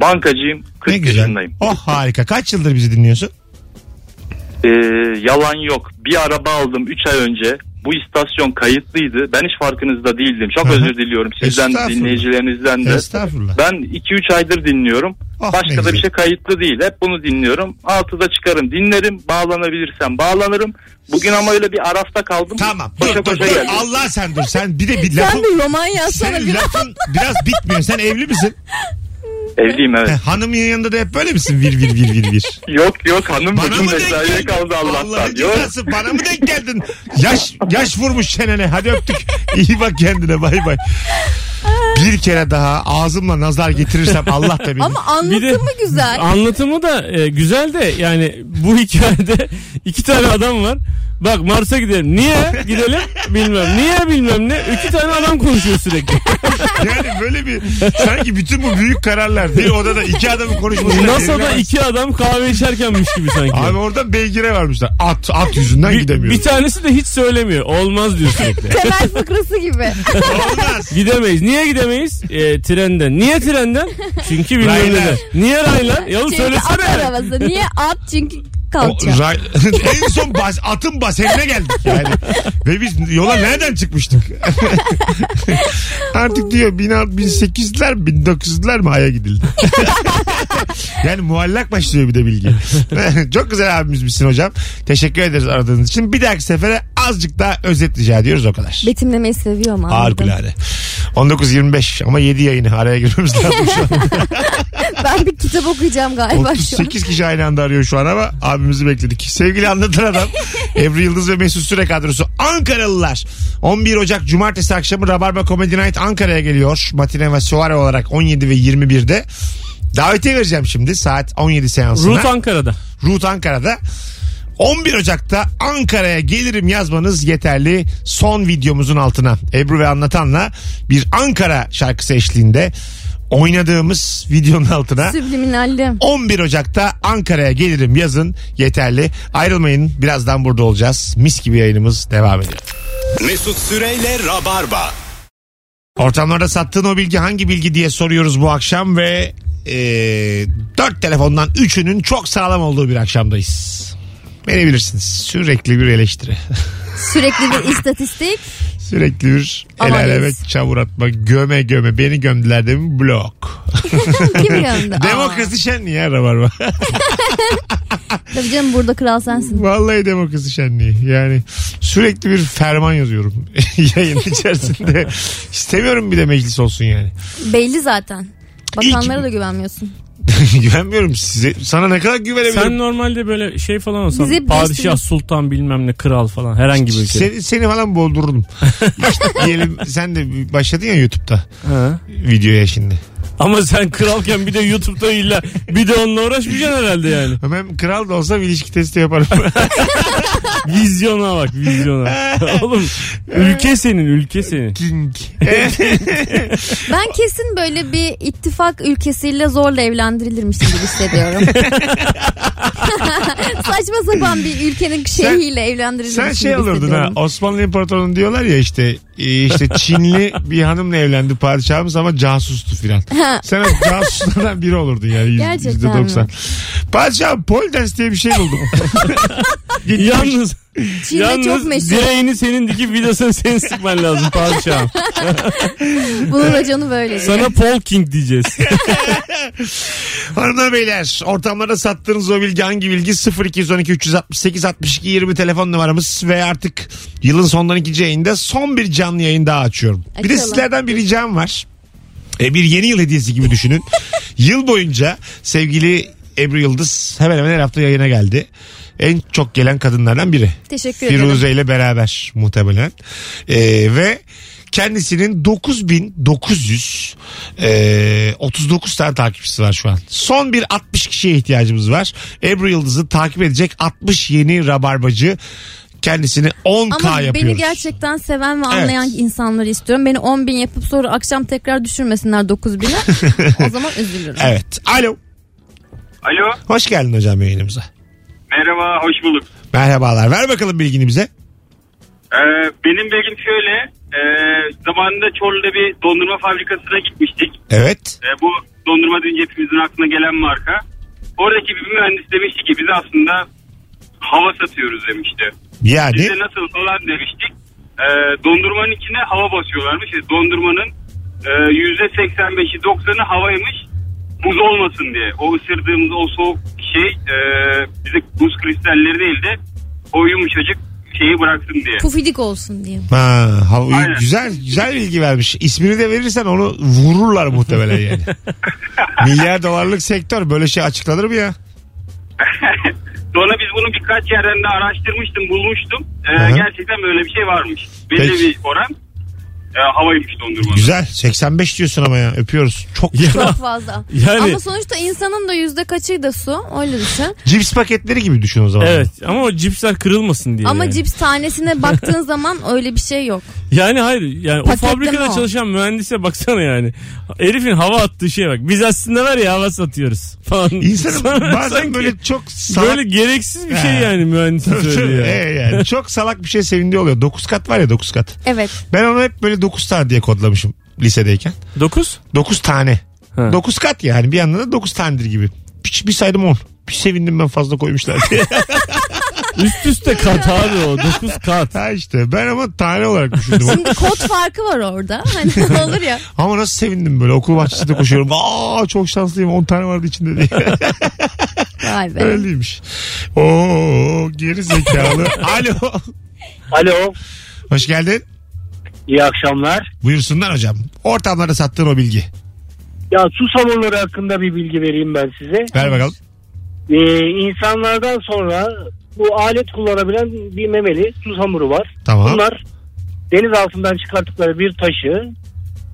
[SPEAKER 7] Bankacıyım. 40
[SPEAKER 2] Ne güzel.
[SPEAKER 7] yaşındayım.
[SPEAKER 2] Oh harika. Kaç yıldır bizi dinliyorsun?
[SPEAKER 7] Ee, yalan yok. Bir araba aldım 3 ay önce. Bu istasyon kayıtlıydı. Ben hiç farkınızda değildim. Çok
[SPEAKER 2] Hı hı.
[SPEAKER 7] özür diliyorum sizden,
[SPEAKER 2] Estağfurullah.
[SPEAKER 7] dinleyicilerinizden de.
[SPEAKER 2] Estağfurullah.
[SPEAKER 7] Ben 2-3 aydır dinliyorum.
[SPEAKER 2] Ah, ne
[SPEAKER 7] Başka da
[SPEAKER 2] güzel.
[SPEAKER 7] bir şey kayıtlı değil. Hep bunu dinliyorum. 6'da çıkarım, dinlerim. Bağlanabilirsem bağlanırım. Bugün ama öyle bir arafta kaldım.
[SPEAKER 2] Tamam.
[SPEAKER 7] Koşa
[SPEAKER 2] Dur, dur,
[SPEAKER 7] koşa
[SPEAKER 2] dur.
[SPEAKER 7] geldim.
[SPEAKER 2] Allah sen dur. Sen bir de
[SPEAKER 4] [laughs]
[SPEAKER 2] bir
[SPEAKER 4] Sen
[SPEAKER 2] lafın,
[SPEAKER 4] bir roman yazsana
[SPEAKER 2] senin
[SPEAKER 4] bir
[SPEAKER 2] lafın biraz bitmiyor. Sen evli misin?
[SPEAKER 7] Evliyim [laughs] evet.
[SPEAKER 2] Heh, Hanımın yanında da hep böyle misin? Vir vir vir vir
[SPEAKER 7] [laughs]
[SPEAKER 2] vir.
[SPEAKER 7] yok yok hanım
[SPEAKER 2] Bana
[SPEAKER 7] bugün
[SPEAKER 2] mı denk
[SPEAKER 7] mesaiye
[SPEAKER 2] geldin?
[SPEAKER 7] kaldı
[SPEAKER 2] Vallahi
[SPEAKER 7] Allah'tan. Yok.
[SPEAKER 2] cezası bana mı denk geldin? Yaş, yaş vurmuş çenene.
[SPEAKER 4] [laughs]
[SPEAKER 2] Hadi öptük. İyi bak kendine. Bay bay. Bir kere daha ağzımla nazar getirirsem Allah da bilir.
[SPEAKER 4] Ama anlatımı güzel.
[SPEAKER 3] [laughs] Anlatımı da e, güzel de yani bu hikayede iki tane adam var. Bak Mars'a gidelim. Niye gidelim? Bilmem. Niye bilmem ne? İki tane adam konuşuyor sürekli.
[SPEAKER 2] Yani böyle bir sanki bütün bu büyük kararlar bir odada iki adamın konuşması.
[SPEAKER 3] NASA'da iki adam kahve içerkenmiş gibi sanki.
[SPEAKER 2] Abi oradan beygire varmışlar. At at yüzünden
[SPEAKER 3] bir,
[SPEAKER 2] gidemiyoruz.
[SPEAKER 3] bir tanesi de hiç söylemiyor. Olmaz diyor sürekli.
[SPEAKER 4] Temel fıkrası gibi.
[SPEAKER 2] Olmaz.
[SPEAKER 3] Gidemeyiz. Niye gidemeyiz? E, trenden. Niye trenden? Çünkü bilmem
[SPEAKER 2] Raylar.
[SPEAKER 3] neden. Niye raylar? Ya oğlum
[SPEAKER 4] Çünkü at
[SPEAKER 3] söylesene.
[SPEAKER 4] arabası. Niye at? Çünkü
[SPEAKER 2] O,
[SPEAKER 4] kalça.
[SPEAKER 2] ray- [laughs] en son bas, atın basenine geldik yani. Ve biz yola nereden çıkmıştık? [laughs] Artık diyor 1800'ler 1900'ler mi aya gidildi? [laughs] yani muallak başlıyor bir de bilgi. [laughs] Çok güzel abimiz misin hocam. Teşekkür ederiz aradığınız için. Bir dahaki sefere azıcık daha özet rica ediyoruz o kadar.
[SPEAKER 4] Betimlemeyi seviyorum anladım.
[SPEAKER 2] Harikulade. 19.25 ama 7 yayını araya girmemiz lazım şu an.
[SPEAKER 4] [laughs] Ben bir kitap okuyacağım galiba şu an.
[SPEAKER 2] 38 kişi aynı anda arıyor şu an ama abimizi bekledik. Sevgili anlatan adam Ebru Yıldız ve Mesut Süre kadrosu Ankaralılar. 11 Ocak Cumartesi akşamı Rabarba Comedy Night Ankara'ya geliyor. Matine ve Suare olarak 17 ve 21'de. Davetiye vereceğim şimdi saat 17 seansına.
[SPEAKER 3] Ruth Ankara'da.
[SPEAKER 2] Ruth Ankara'da. 11 Ocak'ta Ankara'ya gelirim yazmanız yeterli. Son videomuzun altına Ebru ve Anlatan'la bir Ankara şarkısı eşliğinde oynadığımız videonun altına
[SPEAKER 4] Sübliminalli.
[SPEAKER 2] 11 Ocak'ta Ankara'ya gelirim yazın yeterli. Ayrılmayın birazdan burada olacağız. Mis gibi yayınımız devam ediyor.
[SPEAKER 1] Mesut Süreyle Rabarba.
[SPEAKER 2] Ortamlarda sattığın o bilgi hangi bilgi diye soruyoruz bu akşam ve e, 4 telefondan 3'ünün çok sağlam olduğu bir akşamdayız. Beni bilirsiniz sürekli bir eleştiri. [laughs]
[SPEAKER 4] Sürekli bir istatistik. [laughs]
[SPEAKER 2] Sürekli bir el
[SPEAKER 4] Ama
[SPEAKER 2] aleme
[SPEAKER 4] biz-
[SPEAKER 2] çavur atma göme göme beni gömdüler demin blok.
[SPEAKER 4] Kim yandı? Aa,
[SPEAKER 2] [laughs] Demokrasi şenliği ya Rabarba. [laughs]
[SPEAKER 4] Tabii canım burada kral sensin.
[SPEAKER 2] Vallahi demokrasi şenliği. Yani sürekli bir ferman yazıyorum [laughs] yayın
[SPEAKER 4] [laughs]
[SPEAKER 2] içerisinde. İstemiyorum bir de meclis olsun yani. [laughs]
[SPEAKER 4] Belli zaten.
[SPEAKER 2] İlk-
[SPEAKER 4] Bakanlara da güvenmiyorsun.
[SPEAKER 2] Güvenmiyorum size. Sana ne kadar
[SPEAKER 3] Sen
[SPEAKER 2] güvenebilirim?
[SPEAKER 3] normalde böyle şey falan olsan
[SPEAKER 4] Bizi
[SPEAKER 3] padişah,
[SPEAKER 4] besleyin.
[SPEAKER 3] sultan bilmem ne kral falan herhangi bir ülke.
[SPEAKER 2] Seni, seni
[SPEAKER 4] [laughs]
[SPEAKER 2] falan boğdururum. işte diyelim sen de başladın ya YouTube'da
[SPEAKER 3] Ha.
[SPEAKER 2] videoya şimdi.
[SPEAKER 3] Ama sen kralken bir de YouTube'da illa bir de onunla uğraşmayacaksın herhalde yani.
[SPEAKER 2] Ben kral da olsam ilişki testi yaparım.
[SPEAKER 3] Vizyona bak vizyona. Oğlum ülke senin ülke senin.
[SPEAKER 2] King.
[SPEAKER 4] Ben kesin böyle bir ittifak ülkesiyle zorla evlendirilirmişim gibi hissediyorum. [laughs] Saçma sapan bir ülkenin şeyiyle evlendirilirmişim
[SPEAKER 2] Sen
[SPEAKER 4] gibi
[SPEAKER 2] şey alırdın ha
[SPEAKER 4] hissediyorum.
[SPEAKER 2] Osmanlı İmparatorluğu'nun diyorlar ya işte e, işte Çinli bir hanımla evlendi padişahımız ama casustu filan. Sen o casuslardan biri olurdun yani yüz-
[SPEAKER 4] Gerçekten
[SPEAKER 2] yüzde doksan.
[SPEAKER 4] mi?
[SPEAKER 2] Padişahım pole dance diye bir şey buldum.
[SPEAKER 3] Yalnız,
[SPEAKER 4] Çin'de çok
[SPEAKER 3] yalnız
[SPEAKER 4] meşhur.
[SPEAKER 3] direğini senin dikip vidasını senin sıkman lazım padişahım.
[SPEAKER 4] Bunun raconu böyle.
[SPEAKER 3] Sana Paul King
[SPEAKER 4] [laughs]
[SPEAKER 3] diyeceğiz.
[SPEAKER 2] Hanımlar beyler ortamlara sattığınız o bilgi hangi bilgi 0212 368 62 20 telefon numaramız ve artık yılın sondan ikinci yayında son bir canlı yayın daha açıyorum. Bir de
[SPEAKER 4] Açalım.
[SPEAKER 2] sizlerden bir ricam var. E, bir yeni yıl hediyesi gibi düşünün. yıl boyunca sevgili Ebru Yıldız hemen hemen her hafta yayına geldi. En çok gelen kadınlardan biri.
[SPEAKER 4] Teşekkür ederim.
[SPEAKER 2] Firuze ile beraber muhtemelen. Ee, ve kendisinin 9900 e, 39 tane takipçisi var şu an. Son bir 60 kişiye ihtiyacımız var. Ebru Yıldız'ı takip edecek 60 yeni rabarbacı kendisini 10k
[SPEAKER 4] Ama
[SPEAKER 2] yapıyoruz.
[SPEAKER 4] beni gerçekten seven ve anlayan
[SPEAKER 2] Evet.
[SPEAKER 4] insanları istiyorum. Beni 10 bin yapıp sonra akşam tekrar düşürmesinler 9 bine. o zaman üzülürüm.
[SPEAKER 2] Evet. Alo.
[SPEAKER 9] Alo
[SPEAKER 2] Hoş geldin hocam yayınımıza.
[SPEAKER 10] Merhaba, hoş bulduk.
[SPEAKER 2] Merhabalar. Ver bakalım bilgini bize.
[SPEAKER 10] Ee, benim bilgim şöyle. Ee, zamanında Çorlu'da bir dondurma fabrikasına gitmiştik.
[SPEAKER 2] Evet.
[SPEAKER 5] E,
[SPEAKER 10] Ee, bu dondurma deyince hepimizin aklına gelen marka. Oradaki bir mühendis demişti ki biz aslında hava satıyoruz demişti.
[SPEAKER 2] Yani
[SPEAKER 10] Biz de nasıl falan demiştik. Ee, dondurmanın içine hava basıyorlarmış. E, dondurmanın e, %85'i 90'ı havaymış. Buz olmasın diye. O ısırdığımız o soğuk şey e, bize buz kristalleri değil de o yumuşacık şeyi bıraksın diye.
[SPEAKER 4] Pufidik olsun diye.
[SPEAKER 2] ha, hava-
[SPEAKER 10] Aynen.
[SPEAKER 2] güzel güzel bilgi vermiş. İsmini de verirsen onu vururlar muhtemelen yani. Milyar dolarlık sektör böyle şey açıklanır mı ya?
[SPEAKER 10] Sonra biz bunu birkaç yerden de araştırmıştım, bulmuştum. Ee,
[SPEAKER 2] Aha.
[SPEAKER 10] gerçekten böyle bir şey varmış. Belli
[SPEAKER 2] Peki.
[SPEAKER 10] bir oran e, havaymış dondurmanın.
[SPEAKER 2] Güzel. 85 diyorsun ama ya. Öpüyoruz. Çok
[SPEAKER 4] Çok fazla.
[SPEAKER 3] Yani-
[SPEAKER 4] Ama sonuçta insanın da yüzde kaçı da su. Öyle düşün.
[SPEAKER 2] Cips paketleri gibi düşün o zaman.
[SPEAKER 3] Evet ama o cipsler kırılmasın diye.
[SPEAKER 4] Ama
[SPEAKER 3] yani.
[SPEAKER 4] cips tanesine baktığın zaman öyle bir şey yok.
[SPEAKER 3] Yani hayır yani o
[SPEAKER 4] Paketleme
[SPEAKER 3] fabrikada
[SPEAKER 4] o.
[SPEAKER 3] çalışan mühendise baksana yani. Herifin hava attığı şeye bak. Biz aslında var ya hava satıyoruz falan.
[SPEAKER 2] İnsanın
[SPEAKER 3] Sonra
[SPEAKER 2] bazen
[SPEAKER 3] sanki
[SPEAKER 2] böyle çok salak
[SPEAKER 3] böyle gereksiz bir şey
[SPEAKER 2] Ha.
[SPEAKER 3] yani mühendisin söylüyor.
[SPEAKER 2] Ee, yani çok salak bir şey sevindiği oluyor. 9 kat var ya 9 kat.
[SPEAKER 4] Evet.
[SPEAKER 2] Ben onu hep böyle 9 tane diye kodlamışım lisedeyken.
[SPEAKER 3] 9.
[SPEAKER 2] 9 tane.
[SPEAKER 3] Ha.
[SPEAKER 2] 9 kat yani bir yandan da 9 tanedir gibi. Bir, bir saydım 10. Bir sevindim ben fazla koymuşlar diye.
[SPEAKER 3] Üst üste kat abi o. 9 kat.
[SPEAKER 2] ha işte ben ama tane olarak düşündüm. onu.
[SPEAKER 4] [laughs] Şimdi kod farkı var orada. Hani olur ya.
[SPEAKER 2] ama nasıl sevindim böyle okul bahçesinde koşuyorum. Aa çok şanslıyım 10 tane vardı içinde diye.
[SPEAKER 4] Vay be.
[SPEAKER 2] [laughs] Öyleymiş. Oo
[SPEAKER 4] [laughs]
[SPEAKER 2] geri zekalı. Alo.
[SPEAKER 5] Alo,
[SPEAKER 2] Hoş geldin.
[SPEAKER 5] iyi akşamlar.
[SPEAKER 2] Buyursunlar hocam. Ortamlarda sattığın o bilgi.
[SPEAKER 5] Ya su salonları hakkında bir bilgi vereyim ben size.
[SPEAKER 2] Ver bakalım.
[SPEAKER 5] Ee, insanlardan sonra bu alet kullanabilen bir memeli su samuru var.
[SPEAKER 2] Tamam.
[SPEAKER 5] Bunlar deniz altından çıkarttıkları bir taşı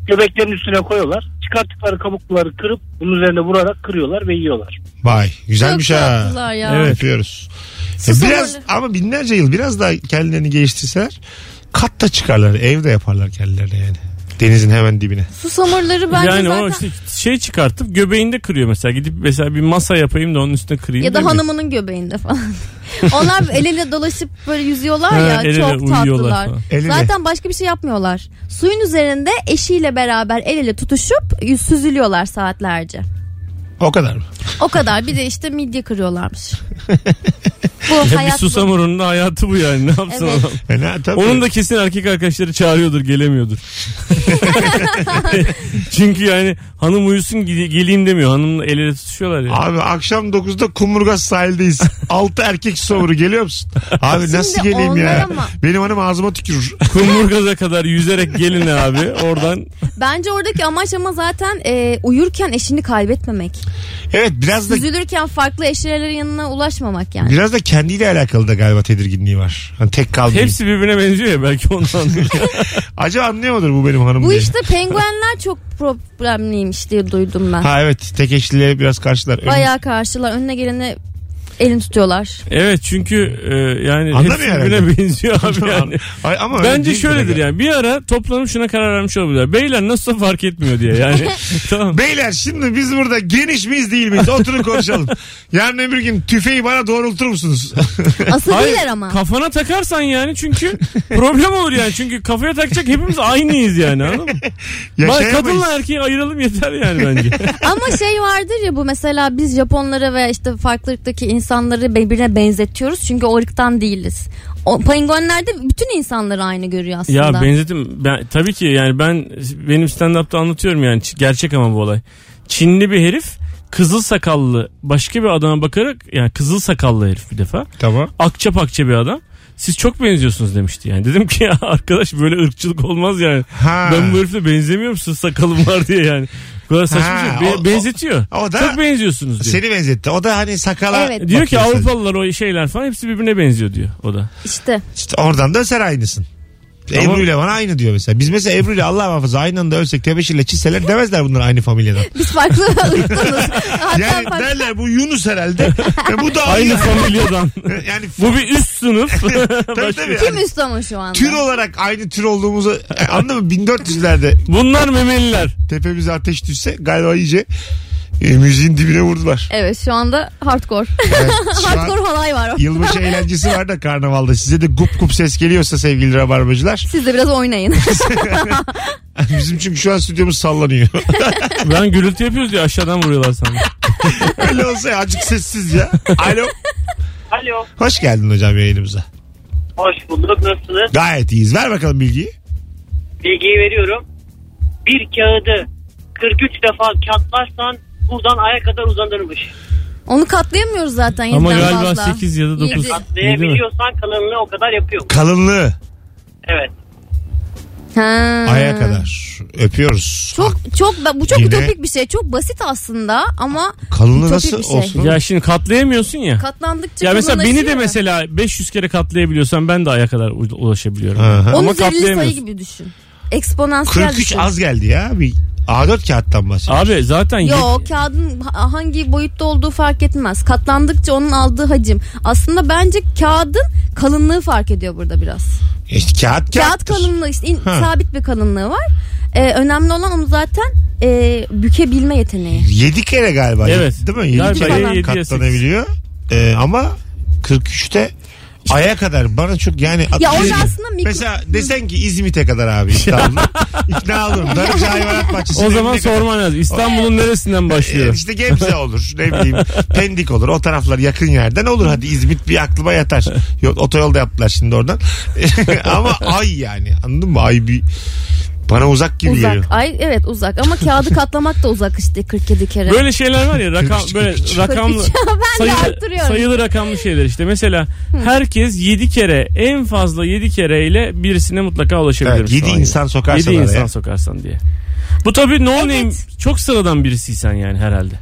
[SPEAKER 5] göbeklerin üstüne koyuyorlar. Çıkarttıkları kabukları kırıp bunun üzerine vurarak kırıyorlar ve yiyorlar.
[SPEAKER 2] Vay güzelmiş
[SPEAKER 4] Çok
[SPEAKER 2] ha.
[SPEAKER 4] tatlılar ya.
[SPEAKER 2] Evet. Yapıyoruz.
[SPEAKER 4] Sus
[SPEAKER 2] biraz
[SPEAKER 4] ama-
[SPEAKER 2] ama binlerce yıl biraz daha kendilerini geliştirseler katta çıkarlar. Evde yaparlar kendilerine yani. Denizin hemen dibine.
[SPEAKER 4] Su samurları bence
[SPEAKER 3] yani
[SPEAKER 4] zaten.
[SPEAKER 3] o işte şey çıkartıp göbeğinde kırıyor mesela. Gidip mesela bir masa yapayım da onun üstüne kırayım.
[SPEAKER 4] Ya da
[SPEAKER 3] demiyor.
[SPEAKER 4] hanımının göbeğinde falan. [laughs] Onlar el ele dolaşıp böyle yüzüyorlar
[SPEAKER 3] Ha,
[SPEAKER 4] ya
[SPEAKER 3] el ele
[SPEAKER 4] çok
[SPEAKER 3] uyuyorlar
[SPEAKER 4] tatlılar.
[SPEAKER 3] falan.
[SPEAKER 2] El ele.
[SPEAKER 4] Zaten başka bir şey yapmıyorlar. Suyun üzerinde eşiyle beraber el ele tutuşup yüz- süzülüyorlar saatlerce.
[SPEAKER 2] O kadar mı?
[SPEAKER 4] O kadar bir de işte midye
[SPEAKER 2] [laughs]
[SPEAKER 4] kırıyorlarmış. Bu
[SPEAKER 3] Ya bir
[SPEAKER 4] hayat bu.
[SPEAKER 3] susamurunun da hayatı bu yani. Ne yapsın
[SPEAKER 4] Evet.
[SPEAKER 3] adam?
[SPEAKER 2] E ne, tabii.
[SPEAKER 3] Onun da kesin erkek arkadaşları çağırıyordur
[SPEAKER 4] [laughs]
[SPEAKER 3] gelemiyordur. Çünkü yani hanım uyusun gide- geleyim demiyor. Hanımla el ele tutuşuyorlar ya.
[SPEAKER 2] Abi akşam 9'da Kumurgaz sahildeyiz. 6 erkek soğuru geliyor musun? Abi nasıl
[SPEAKER 4] Şimdi
[SPEAKER 2] geleyim ya?
[SPEAKER 4] onlar ama-
[SPEAKER 2] Benim hanım ağzıma tükürür.
[SPEAKER 3] Kumburgaz'a kadar yüzerek gelin abi oradan.
[SPEAKER 4] Bence oradaki amaç ama zaten e, uyurken eşini kaybetmemek.
[SPEAKER 2] Evet biraz da
[SPEAKER 4] Süzülürken farklı eşyaların yanına ulaşmamak yani.
[SPEAKER 2] biraz da kendiyle alakalı da galiba tedirginliği var. Hani tek kalmayayım.
[SPEAKER 3] Hepsi birbirine benziyor ya belki ondan.
[SPEAKER 2] [laughs] Acaba anlıyor mudur bu benim hanım
[SPEAKER 4] Bu
[SPEAKER 2] diye?
[SPEAKER 4] işte penguenler çok problemliymiş diye duydum ben.
[SPEAKER 2] Ha evet tek eşliliğe biraz karşılar. Ön- [laughs]
[SPEAKER 4] Bayağı karşılar. Önüne gelene
[SPEAKER 3] [laughs]
[SPEAKER 4] elini tutuyorlar.
[SPEAKER 3] evet çünkü e, yani
[SPEAKER 2] Anlamıyor
[SPEAKER 3] hepsi birbirine
[SPEAKER 2] herhalde.
[SPEAKER 3] benziyor abi yani.
[SPEAKER 2] Ay, ama öyle
[SPEAKER 3] Bence
[SPEAKER 2] değil
[SPEAKER 3] şöyledir
[SPEAKER 2] demek.
[SPEAKER 3] yani bir ara toplanıp şuna karar vermiş olabilirler. Beyler nasıl fark etmiyor diye yani.
[SPEAKER 2] [laughs]
[SPEAKER 3] tamam.
[SPEAKER 2] Beyler şimdi biz burada geniş miyiz değil miyiz? Oturun konuşalım. Yarın öbür gün tüfeği bana doğrultur musunuz? [laughs]
[SPEAKER 4] Asıl
[SPEAKER 3] Hayır,
[SPEAKER 4] değiller ama.
[SPEAKER 3] Kafana takarsan yani çünkü problem olur yani. Çünkü kafaya takacak hepimiz aynıyız yani anladın mı? Bak
[SPEAKER 2] Yaşayamayız.
[SPEAKER 3] kadınla erkeği ayıralım yeter yani
[SPEAKER 2] [laughs]
[SPEAKER 3] bence.
[SPEAKER 4] ama şey vardır ya bu mesela biz Japonlara ve işte farklı ırktaki insanları birbirine benzetiyoruz. Çünkü o ırktan değiliz. O penguenlerde bütün insanları aynı görüyor aslında.
[SPEAKER 3] ya benzetim ben tabii ki yani ben benim stand-up'ta anlatıyorum yani Ç- gerçek ama bu olay. Çinli bir herif kızıl sakallı başka bir adama bakarak yani kızıl sakallı herif bir defa
[SPEAKER 2] Tamam.
[SPEAKER 3] akça pakça bir adam. Siz çok benziyorsunuz demişti yani. Dedim ki ya arkadaş böyle ırkçılık olmaz yani.
[SPEAKER 2] Ha.
[SPEAKER 3] Ben bu herifle benzemiyor musun sakalım var diye yani. Bu kadar saçma
[SPEAKER 2] Ha,
[SPEAKER 3] bir şey. Be-
[SPEAKER 2] o-
[SPEAKER 3] benzetiyor.
[SPEAKER 2] o da-
[SPEAKER 3] çok benziyorsunuz diyor. E,
[SPEAKER 2] Seni benzetti. O da hani sakala
[SPEAKER 4] Evet.
[SPEAKER 3] Diyor ki
[SPEAKER 2] bakıyor sadece.
[SPEAKER 3] Avrupalılar o şeyler falan hepsi birbirine benziyor diyor o da.
[SPEAKER 4] İşte
[SPEAKER 2] İşte oradan da sen aynısın.
[SPEAKER 3] Tamam.
[SPEAKER 2] Ebru ile bana aynı diyor mesela. Biz mesela Ebru ile Allah muhafaza aynı anda ölsek tebeşirle çizseler demezler bunlar aynı familyadan.
[SPEAKER 4] biz
[SPEAKER 3] [laughs]
[SPEAKER 4] farklı ırktanız. [laughs] Hatta
[SPEAKER 2] Yani
[SPEAKER 4] farklı-
[SPEAKER 2] derler bu
[SPEAKER 4] [laughs]
[SPEAKER 2] Yunus herhalde. Ve bu da
[SPEAKER 3] Aynı
[SPEAKER 2] aynı.
[SPEAKER 3] familyadan.
[SPEAKER 2] yani [laughs]
[SPEAKER 3] Bu bir üst sınıf.
[SPEAKER 2] tabii,
[SPEAKER 3] Başka- şey.
[SPEAKER 2] tabii.
[SPEAKER 4] kim üst ama şu anda?
[SPEAKER 2] tür olarak aynı tür olduğumuzu e, anladın mı? 1400'lerde
[SPEAKER 3] Bunlar memeliler.
[SPEAKER 2] tepemize ateş düşse galiba iyice E, müziğin
[SPEAKER 4] [laughs]
[SPEAKER 2] dibine vurdular.
[SPEAKER 4] Evet şu anda hardcore.
[SPEAKER 2] şu an-
[SPEAKER 4] hardcore halay var.
[SPEAKER 2] Yılbaşı eğlencesi var da karnavalda. Size de gup gup ses geliyorsa sevgili rabarbacılar. [laughs]
[SPEAKER 4] Siz de
[SPEAKER 3] [laughs]
[SPEAKER 4] biraz oynayın.
[SPEAKER 2] Bizim çünkü şu an stüdyomuz sallanıyor.
[SPEAKER 3] Ben gürültü yapıyoruz diye aşağıdan vuruyorlar sandım.
[SPEAKER 2] Öyle olsa ya, azıcık sessiz ya. Alo.
[SPEAKER 11] Alo.
[SPEAKER 2] Hoş geldin hocam yayınımıza.
[SPEAKER 11] Hoş bulduk. Nasılsınız?
[SPEAKER 2] Gayet iyiyiz. Ver bakalım bilgiyi.
[SPEAKER 11] Bilgiyi veriyorum. Bir kağıdı 43 defa katlarsan buradan aya kadar uzanırmış.
[SPEAKER 4] Onu katlayamıyoruz zaten.
[SPEAKER 3] Ama
[SPEAKER 4] yediden
[SPEAKER 3] galiba
[SPEAKER 4] fazla.
[SPEAKER 3] 8 ya da
[SPEAKER 4] Yedi.
[SPEAKER 3] 9.
[SPEAKER 11] Katlayabiliyorsan kalınlığı o kadar yapıyor.
[SPEAKER 2] Kalınlığı
[SPEAKER 11] Evet.
[SPEAKER 4] Ha.
[SPEAKER 2] aya kadar. Öpüyoruz.
[SPEAKER 3] Ah.
[SPEAKER 4] Çok çok bu çok
[SPEAKER 2] Yine-
[SPEAKER 4] ütopik bir şey. Çok basit aslında ama
[SPEAKER 2] Kalınlığı
[SPEAKER 4] ütopik
[SPEAKER 2] nasıl
[SPEAKER 4] bir şey.
[SPEAKER 2] olsun?
[SPEAKER 3] Ya şimdi katlayamıyorsun ya.
[SPEAKER 4] Katlandıkça
[SPEAKER 3] ya mesela beni de
[SPEAKER 4] kalınlaşıyor.
[SPEAKER 3] mesela 500 kere katlayabiliyorsan ben de aya kadar u- ulaşabiliyorum.
[SPEAKER 2] Aha.
[SPEAKER 4] Onun
[SPEAKER 3] Ama
[SPEAKER 4] üzerinde sayı
[SPEAKER 3] katlayamıyorsun.
[SPEAKER 4] gibi düşün. Eksponansiyel
[SPEAKER 2] 43
[SPEAKER 4] düşün.
[SPEAKER 2] az geldi ya. Bir A4 kağıttan bahsediyor.
[SPEAKER 3] Abi zaten yet-
[SPEAKER 4] Yok kağıdın ha- hangi boyutta olduğu fark etmez. Katlandıkça onun aldığı hacim. Aslında bence kağıdın kalınlığı fark ediyor burada biraz.
[SPEAKER 2] İşte
[SPEAKER 4] Kağıt
[SPEAKER 2] kağıt kağıt.
[SPEAKER 4] kalınlığı işte in-
[SPEAKER 2] Ha.
[SPEAKER 4] sabit bir kalınlığı var. Ee, önemli olan onu zaten e, bükebilme yeteneği.
[SPEAKER 2] 7 kere galiba.
[SPEAKER 3] Evet.
[SPEAKER 2] Değil mi? 7
[SPEAKER 3] Galiba
[SPEAKER 2] kere
[SPEAKER 3] yedi ya
[SPEAKER 2] katlanabiliyor. Ee, ama 43'te aya kadar bana çok yani
[SPEAKER 4] Ya orada aslında mikro-
[SPEAKER 2] mesela desen ki İzmit'e kadar
[SPEAKER 3] [laughs]
[SPEAKER 2] abi İstanbul'a ikna olurum. Darıca hayvanat bahçesi.
[SPEAKER 3] o zaman sorman lazım. İstanbul'un neresinden başlıyor?
[SPEAKER 2] E, işte Gebze olur ne bileyim Pendik olur o taraflar yakın yerden olur hadi İzmit bir aklıma yatar. Yok otoyolda yaptılar şimdi oradan. [laughs] ama ay yani anladın mı ay bir bana uzak gibi
[SPEAKER 4] uzak.
[SPEAKER 2] geliyor.
[SPEAKER 4] Ay evet uzak ama kağıdı katlamak da uzak işte 47 kere.
[SPEAKER 3] Böyle şeyler var ya rakam
[SPEAKER 2] 43,
[SPEAKER 3] böyle
[SPEAKER 2] 43.
[SPEAKER 3] rakamlı
[SPEAKER 4] [laughs] ben de
[SPEAKER 3] sayılı,
[SPEAKER 4] arttırıyorum.
[SPEAKER 3] sayılı rakamlı şeyler işte. Mesela herkes 7 kere en fazla 7 kereyle birisine mutlaka ulaşabilir.
[SPEAKER 2] Evet, yedi insan sokarsan
[SPEAKER 3] 7
[SPEAKER 2] araya.
[SPEAKER 3] insan sokarsan diye. Bu tabii no name
[SPEAKER 4] Evet.
[SPEAKER 3] çok sıradan birisiysen yani herhalde.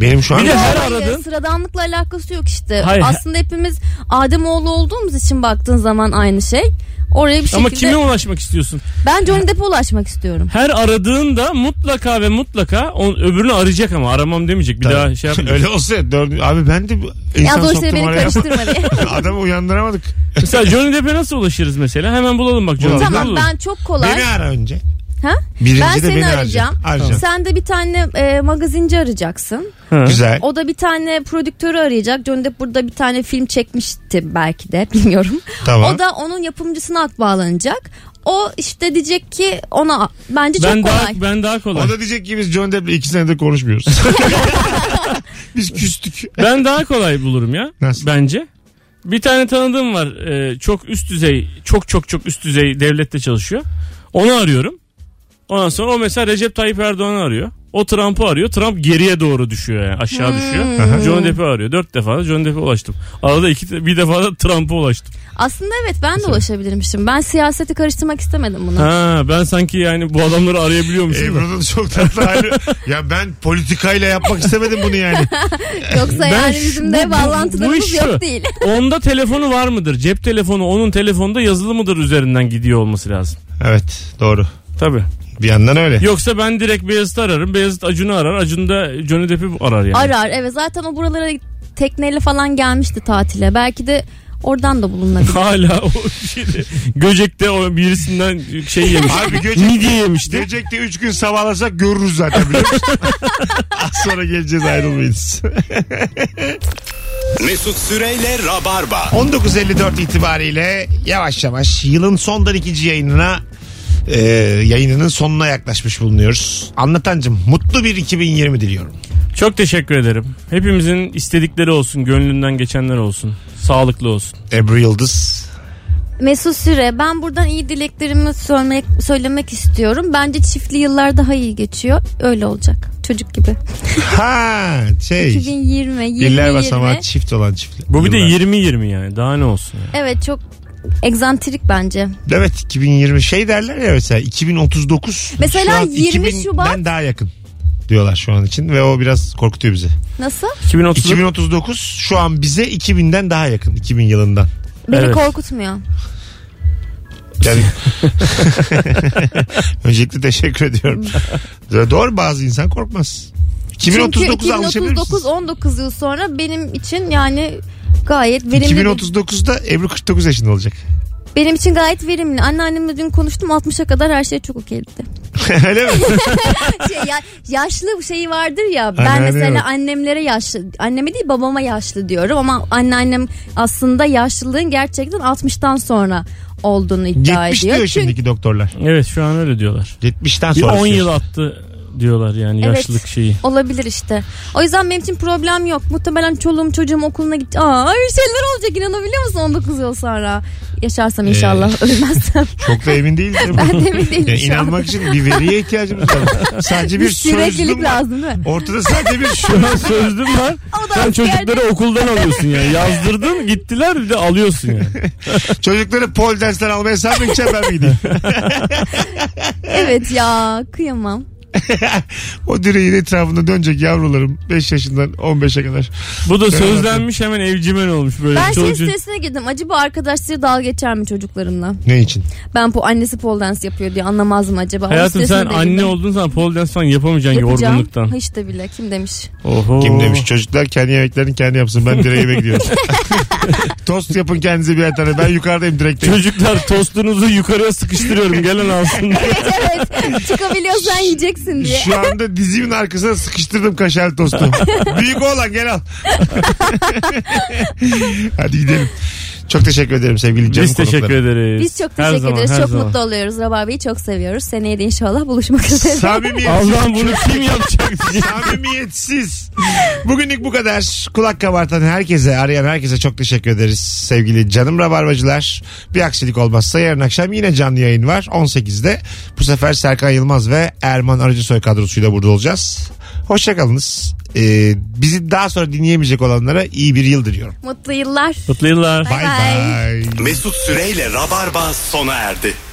[SPEAKER 2] Benim şu an [laughs]
[SPEAKER 3] Bir de her
[SPEAKER 4] Hayır,
[SPEAKER 3] aradığın
[SPEAKER 4] sıradanlıkla alakası yok işte.
[SPEAKER 3] Hayır.
[SPEAKER 4] Aslında hepimiz Ademoğlu olduğumuz için baktığın zaman aynı şey. Oraya bir
[SPEAKER 3] ama
[SPEAKER 4] şekilde
[SPEAKER 3] kime ulaşmak istiyorsun?
[SPEAKER 4] ben Johnny Depp'e ulaşmak istiyorum.
[SPEAKER 3] Her aradığında mutlaka ve mutlaka on, öbürünü arayacak ama aramam demeyecek. Bir
[SPEAKER 2] Tabii.
[SPEAKER 3] daha şey yapmayacak.
[SPEAKER 2] [laughs] Öyle olsa ya, dördü- abi ben de bu-
[SPEAKER 4] Ya
[SPEAKER 2] insan
[SPEAKER 4] bu işleri
[SPEAKER 2] soktum
[SPEAKER 4] beni
[SPEAKER 2] araya.
[SPEAKER 4] karıştırma
[SPEAKER 3] [laughs]
[SPEAKER 4] diye.
[SPEAKER 2] [laughs] Adamı uyandıramadık.
[SPEAKER 3] Mesela Johnny Depp'e nasıl ulaşırız mesela? Hemen bulalım bak Johnny
[SPEAKER 2] Bulalım.
[SPEAKER 3] Depp'i
[SPEAKER 4] tamam
[SPEAKER 3] bulalım.
[SPEAKER 4] ben çok kolay.
[SPEAKER 2] Beni ara önce.
[SPEAKER 4] Ha?
[SPEAKER 2] Birinci
[SPEAKER 4] ben
[SPEAKER 2] de
[SPEAKER 4] seni
[SPEAKER 2] beni
[SPEAKER 4] arayacağım.
[SPEAKER 2] arayacak. Arayacağım.
[SPEAKER 4] Sen de bir tane e, magazinci arayacaksın.
[SPEAKER 3] Ha.
[SPEAKER 2] Güzel.
[SPEAKER 4] O da bir tane prodüktörü arayacak. Johnny Depp burada bir tane film çekmişti belki de [laughs] bilmiyorum.
[SPEAKER 2] Tamam.
[SPEAKER 4] O da onun yapımcısına ak bağlanacak. O işte diyecek ki ona bence çok
[SPEAKER 3] Ben
[SPEAKER 4] kolay.
[SPEAKER 3] daha, ben daha kolay.
[SPEAKER 2] O da diyecek ki biz John Depp'le iki
[SPEAKER 4] [laughs]
[SPEAKER 2] senedir konuşmuyoruz. biz küstük.
[SPEAKER 3] Ben daha kolay bulurum ya.
[SPEAKER 2] Nasıl?
[SPEAKER 3] Bence. Bir tane tanıdığım var. e, çok üst düzey, çok çok çok üst düzey devlette çalışıyor. Onu arıyorum. Ondan sonra o mesela Recep Tayyip Erdoğan'ı arıyor. O Trump'ı arıyor. Trump geriye doğru düşüyor yani. Aşağı düşüyor. John Depp'i arıyor. Dört defa da John Depp'e ulaştım. Arada iki, bir defa da Trump'a ulaştım.
[SPEAKER 4] Aslında evet ben de ulaşabilirmişim. Ben siyaseti karıştırmak istemedim bunu.
[SPEAKER 3] Ha, ben sanki yani bu adamları arayabiliyormuşum. da.
[SPEAKER 2] Ebru'nun çok tatlı hali. Ya ben politikayla yapmak istemedim bunu yani.
[SPEAKER 4] Yoksa
[SPEAKER 3] Ben
[SPEAKER 4] yani
[SPEAKER 3] şu-
[SPEAKER 4] bizim
[SPEAKER 3] bu-
[SPEAKER 4] de
[SPEAKER 3] bu- bu
[SPEAKER 4] bağlantılarımız
[SPEAKER 3] iş şu.
[SPEAKER 4] yok değil.
[SPEAKER 3] Onda telefonu var mıdır? Cep telefonu onun telefonda yazılı mıdır üzerinden gidiyor olması lazım.
[SPEAKER 2] Evet doğru.
[SPEAKER 3] Tabii.
[SPEAKER 2] Bir yandan öyle.
[SPEAKER 3] Yoksa ben direkt Beyazıt'ı ararım. Beyazıt Acun'u arar. Acun da Johnny Depp'i arar yani.
[SPEAKER 4] Arar evet zaten o buralara tekneyle falan gelmişti tatile. Belki de oradan da bulunabilir.
[SPEAKER 3] [laughs] Hala o şeyde, Göcek'te o birisinden şey yemiş.
[SPEAKER 2] Abi
[SPEAKER 3] Midye
[SPEAKER 2] Göcek,
[SPEAKER 3] yemişti.
[SPEAKER 2] Göcek'te 3 gün sabahlasak görürüz zaten biliyor musun? [laughs] Az sonra geleceğiz ayrılmayız.
[SPEAKER 1] Mesut Süreyle Rabarba.
[SPEAKER 2] 19.54 itibariyle yavaş yavaş yılın sondan ikinci yayınına e, yayınının sonuna yaklaşmış bulunuyoruz. Anlatancım mutlu bir 2020 diliyorum.
[SPEAKER 3] Çok teşekkür ederim. Hepimizin istedikleri olsun, gönlünden geçenler olsun. Sağlıklı olsun.
[SPEAKER 2] Ebru Yıldız.
[SPEAKER 4] Mesut Süre ben buradan iyi dileklerimi söylemek, söylemek istiyorum. Bence çiftli yıllar daha iyi geçiyor. Öyle olacak. Çocuk gibi.
[SPEAKER 2] Ha şey.
[SPEAKER 4] 2020, 2020.
[SPEAKER 2] Birler basamağı çift olan çiftli.
[SPEAKER 3] Bu bir de
[SPEAKER 2] Yıllar.
[SPEAKER 3] 20-20 yani. Daha ne olsun? yani?
[SPEAKER 4] Evet çok egzantrik bence.
[SPEAKER 2] Evet 2020 şey derler ya mesela 2039.
[SPEAKER 4] Mesela
[SPEAKER 2] şu an
[SPEAKER 4] 20
[SPEAKER 2] 2000'den
[SPEAKER 4] Şubat-
[SPEAKER 2] daha yakın diyorlar şu an için ve o biraz korkutuyor bizi.
[SPEAKER 4] Nasıl?
[SPEAKER 3] 2030
[SPEAKER 2] 2039 şu an bize 2000'den daha yakın 2000 yılından.
[SPEAKER 4] Beni
[SPEAKER 3] Evet.
[SPEAKER 4] korkutmuyor.
[SPEAKER 3] [laughs]
[SPEAKER 2] Yani... [laughs] Öncelikle teşekkür ediyorum. Doğru bazı insan korkmaz.
[SPEAKER 4] Çünkü
[SPEAKER 2] 2039 alışabilir
[SPEAKER 4] 2039
[SPEAKER 2] misiniz?
[SPEAKER 4] 19 yıl sonra benim için yani gayet verimli. bir-
[SPEAKER 2] 2039'da Ebru 49 yaşında olacak. [laughs]
[SPEAKER 4] Benim için gayet verimli. Anneannemle dün konuştum 60'a kadar her şey çok okeydi.
[SPEAKER 2] Öyle mi?
[SPEAKER 4] şey, ya- yaşlı şeyi vardır ya. Ben
[SPEAKER 2] Anneanne
[SPEAKER 4] mesela
[SPEAKER 2] yok.
[SPEAKER 4] annemlere yaşlı, anneme değil babama yaşlı diyorum ama anneannem aslında yaşlılığın gerçekten 60'tan sonra olduğunu iddia
[SPEAKER 2] 70
[SPEAKER 4] ediyor.
[SPEAKER 2] diyor
[SPEAKER 4] Çünkü
[SPEAKER 2] şimdiki doktorlar.
[SPEAKER 3] Evet şu an öyle diyorlar.
[SPEAKER 2] 70'ten
[SPEAKER 3] Bir
[SPEAKER 2] sonra.
[SPEAKER 3] 10 yıl
[SPEAKER 2] diyor.
[SPEAKER 3] attı diyorlar yani
[SPEAKER 4] Evet.
[SPEAKER 3] yaşlılık şeyi.
[SPEAKER 4] olabilir işte. O yüzden benim için problem yok. Muhtemelen çoluğum çocuğum okuluna gitti. Aa öyle şeyler olacak inanabiliyor musun 19 yıl sonra?
[SPEAKER 2] Ee,
[SPEAKER 4] Yaşarsam inşallah ölmezsem.
[SPEAKER 2] Çok da emin değiliz değil mi?
[SPEAKER 4] Ben de emin değilim
[SPEAKER 2] Yani
[SPEAKER 4] şu an.
[SPEAKER 2] inanmak için bir veriye ihtiyacımız var. Sadece bir,
[SPEAKER 4] Bir
[SPEAKER 2] sözlüm
[SPEAKER 4] süreklilik
[SPEAKER 2] var.
[SPEAKER 4] lazım değil mi?
[SPEAKER 2] Ortada sadece bir şu.
[SPEAKER 3] Şu an sözlüm var.
[SPEAKER 4] O da
[SPEAKER 3] Sen
[SPEAKER 4] askerde.
[SPEAKER 3] çocukları okuldan alıyorsun yani. Yazdırdın gittiler bir de alıyorsun yani.
[SPEAKER 2] Çocukları pol dersten almaya sen mi gideceksin ben mi gideyim?
[SPEAKER 4] Evet ya kıyamam.
[SPEAKER 2] O direğin etrafında dönecek yavrularım 5 yaşından 15'e kadar.
[SPEAKER 3] Bu da sözlenmiş hemen evcimen olmuş böyle.
[SPEAKER 4] Ben şey
[SPEAKER 3] Çoluk çocuk-
[SPEAKER 4] sitesine girdim. Acaba arkadaşları dalga geçer mi çocuklarımla?
[SPEAKER 2] Ne için?
[SPEAKER 4] Ben bu annesi pole dance yapıyor diye anlamaz mı acaba? Onun
[SPEAKER 3] Hayatım
[SPEAKER 4] sitesine
[SPEAKER 3] sen
[SPEAKER 4] de
[SPEAKER 3] anne
[SPEAKER 4] girdim.
[SPEAKER 3] olduğun zaman pole dance falan yapamayacaksın
[SPEAKER 4] Yapacağım.
[SPEAKER 3] yorgunluktan.
[SPEAKER 4] Hiç de bile kim demiş. [laughs]
[SPEAKER 3] Oho.
[SPEAKER 2] Kim demiş çocuklar kendi yemeklerini kendi yapsın ben direğime gidiyorum. [laughs] Tost yapın kendinize birer tane ben yukarıdayım direkteyim.
[SPEAKER 3] Çocuklar tostunuzu yukarıya sıkıştırıyorum gelen alsın diye.
[SPEAKER 4] evet çıkabiliyorsan yiyeceksin diye.
[SPEAKER 2] Şu anda dizimin arkasına sıkıştırdım kaşarlı tostu. Büyük oğlan gel al. [laughs] Hadi gidelim. Çok teşekkür ederim sevgili canım
[SPEAKER 3] Biz teşekkür
[SPEAKER 2] konuklarım.
[SPEAKER 3] ederiz.
[SPEAKER 4] Biz çok
[SPEAKER 3] Her
[SPEAKER 4] teşekkür
[SPEAKER 3] zaman,
[SPEAKER 4] ederiz.
[SPEAKER 3] her
[SPEAKER 4] Çok
[SPEAKER 3] zaman.
[SPEAKER 4] mutlu oluyoruz. Rabarbeyi çok seviyoruz. Seneye de inşallah buluşmak üzere.
[SPEAKER 2] Samimiyetsiz.
[SPEAKER 3] Allah'ım bunu kim
[SPEAKER 4] [laughs]
[SPEAKER 3] yapacak diye.
[SPEAKER 2] Samimiyetsiz. Bugünlük bu kadar. Kulak kabartan herkese, arayan herkese çok teşekkür ederiz sevgili canım rabarbacılar. Bir aksilik olmazsa yarın akşam yine canlı yayın var 18'de. Bu sefer Serkan Yılmaz ve Erman Arıcısoy kadrosuyla burada olacağız. Hoşçakalınız. Ee, bizi daha sonra dinleyemeyecek olanlara iyi bir yıl diliyorum.
[SPEAKER 4] Mutlu yıllar.
[SPEAKER 3] Mutlu yıllar.
[SPEAKER 2] Bay
[SPEAKER 4] Bye bye.
[SPEAKER 2] bay.
[SPEAKER 1] Mesut Süreyle Rabarba sona erdi.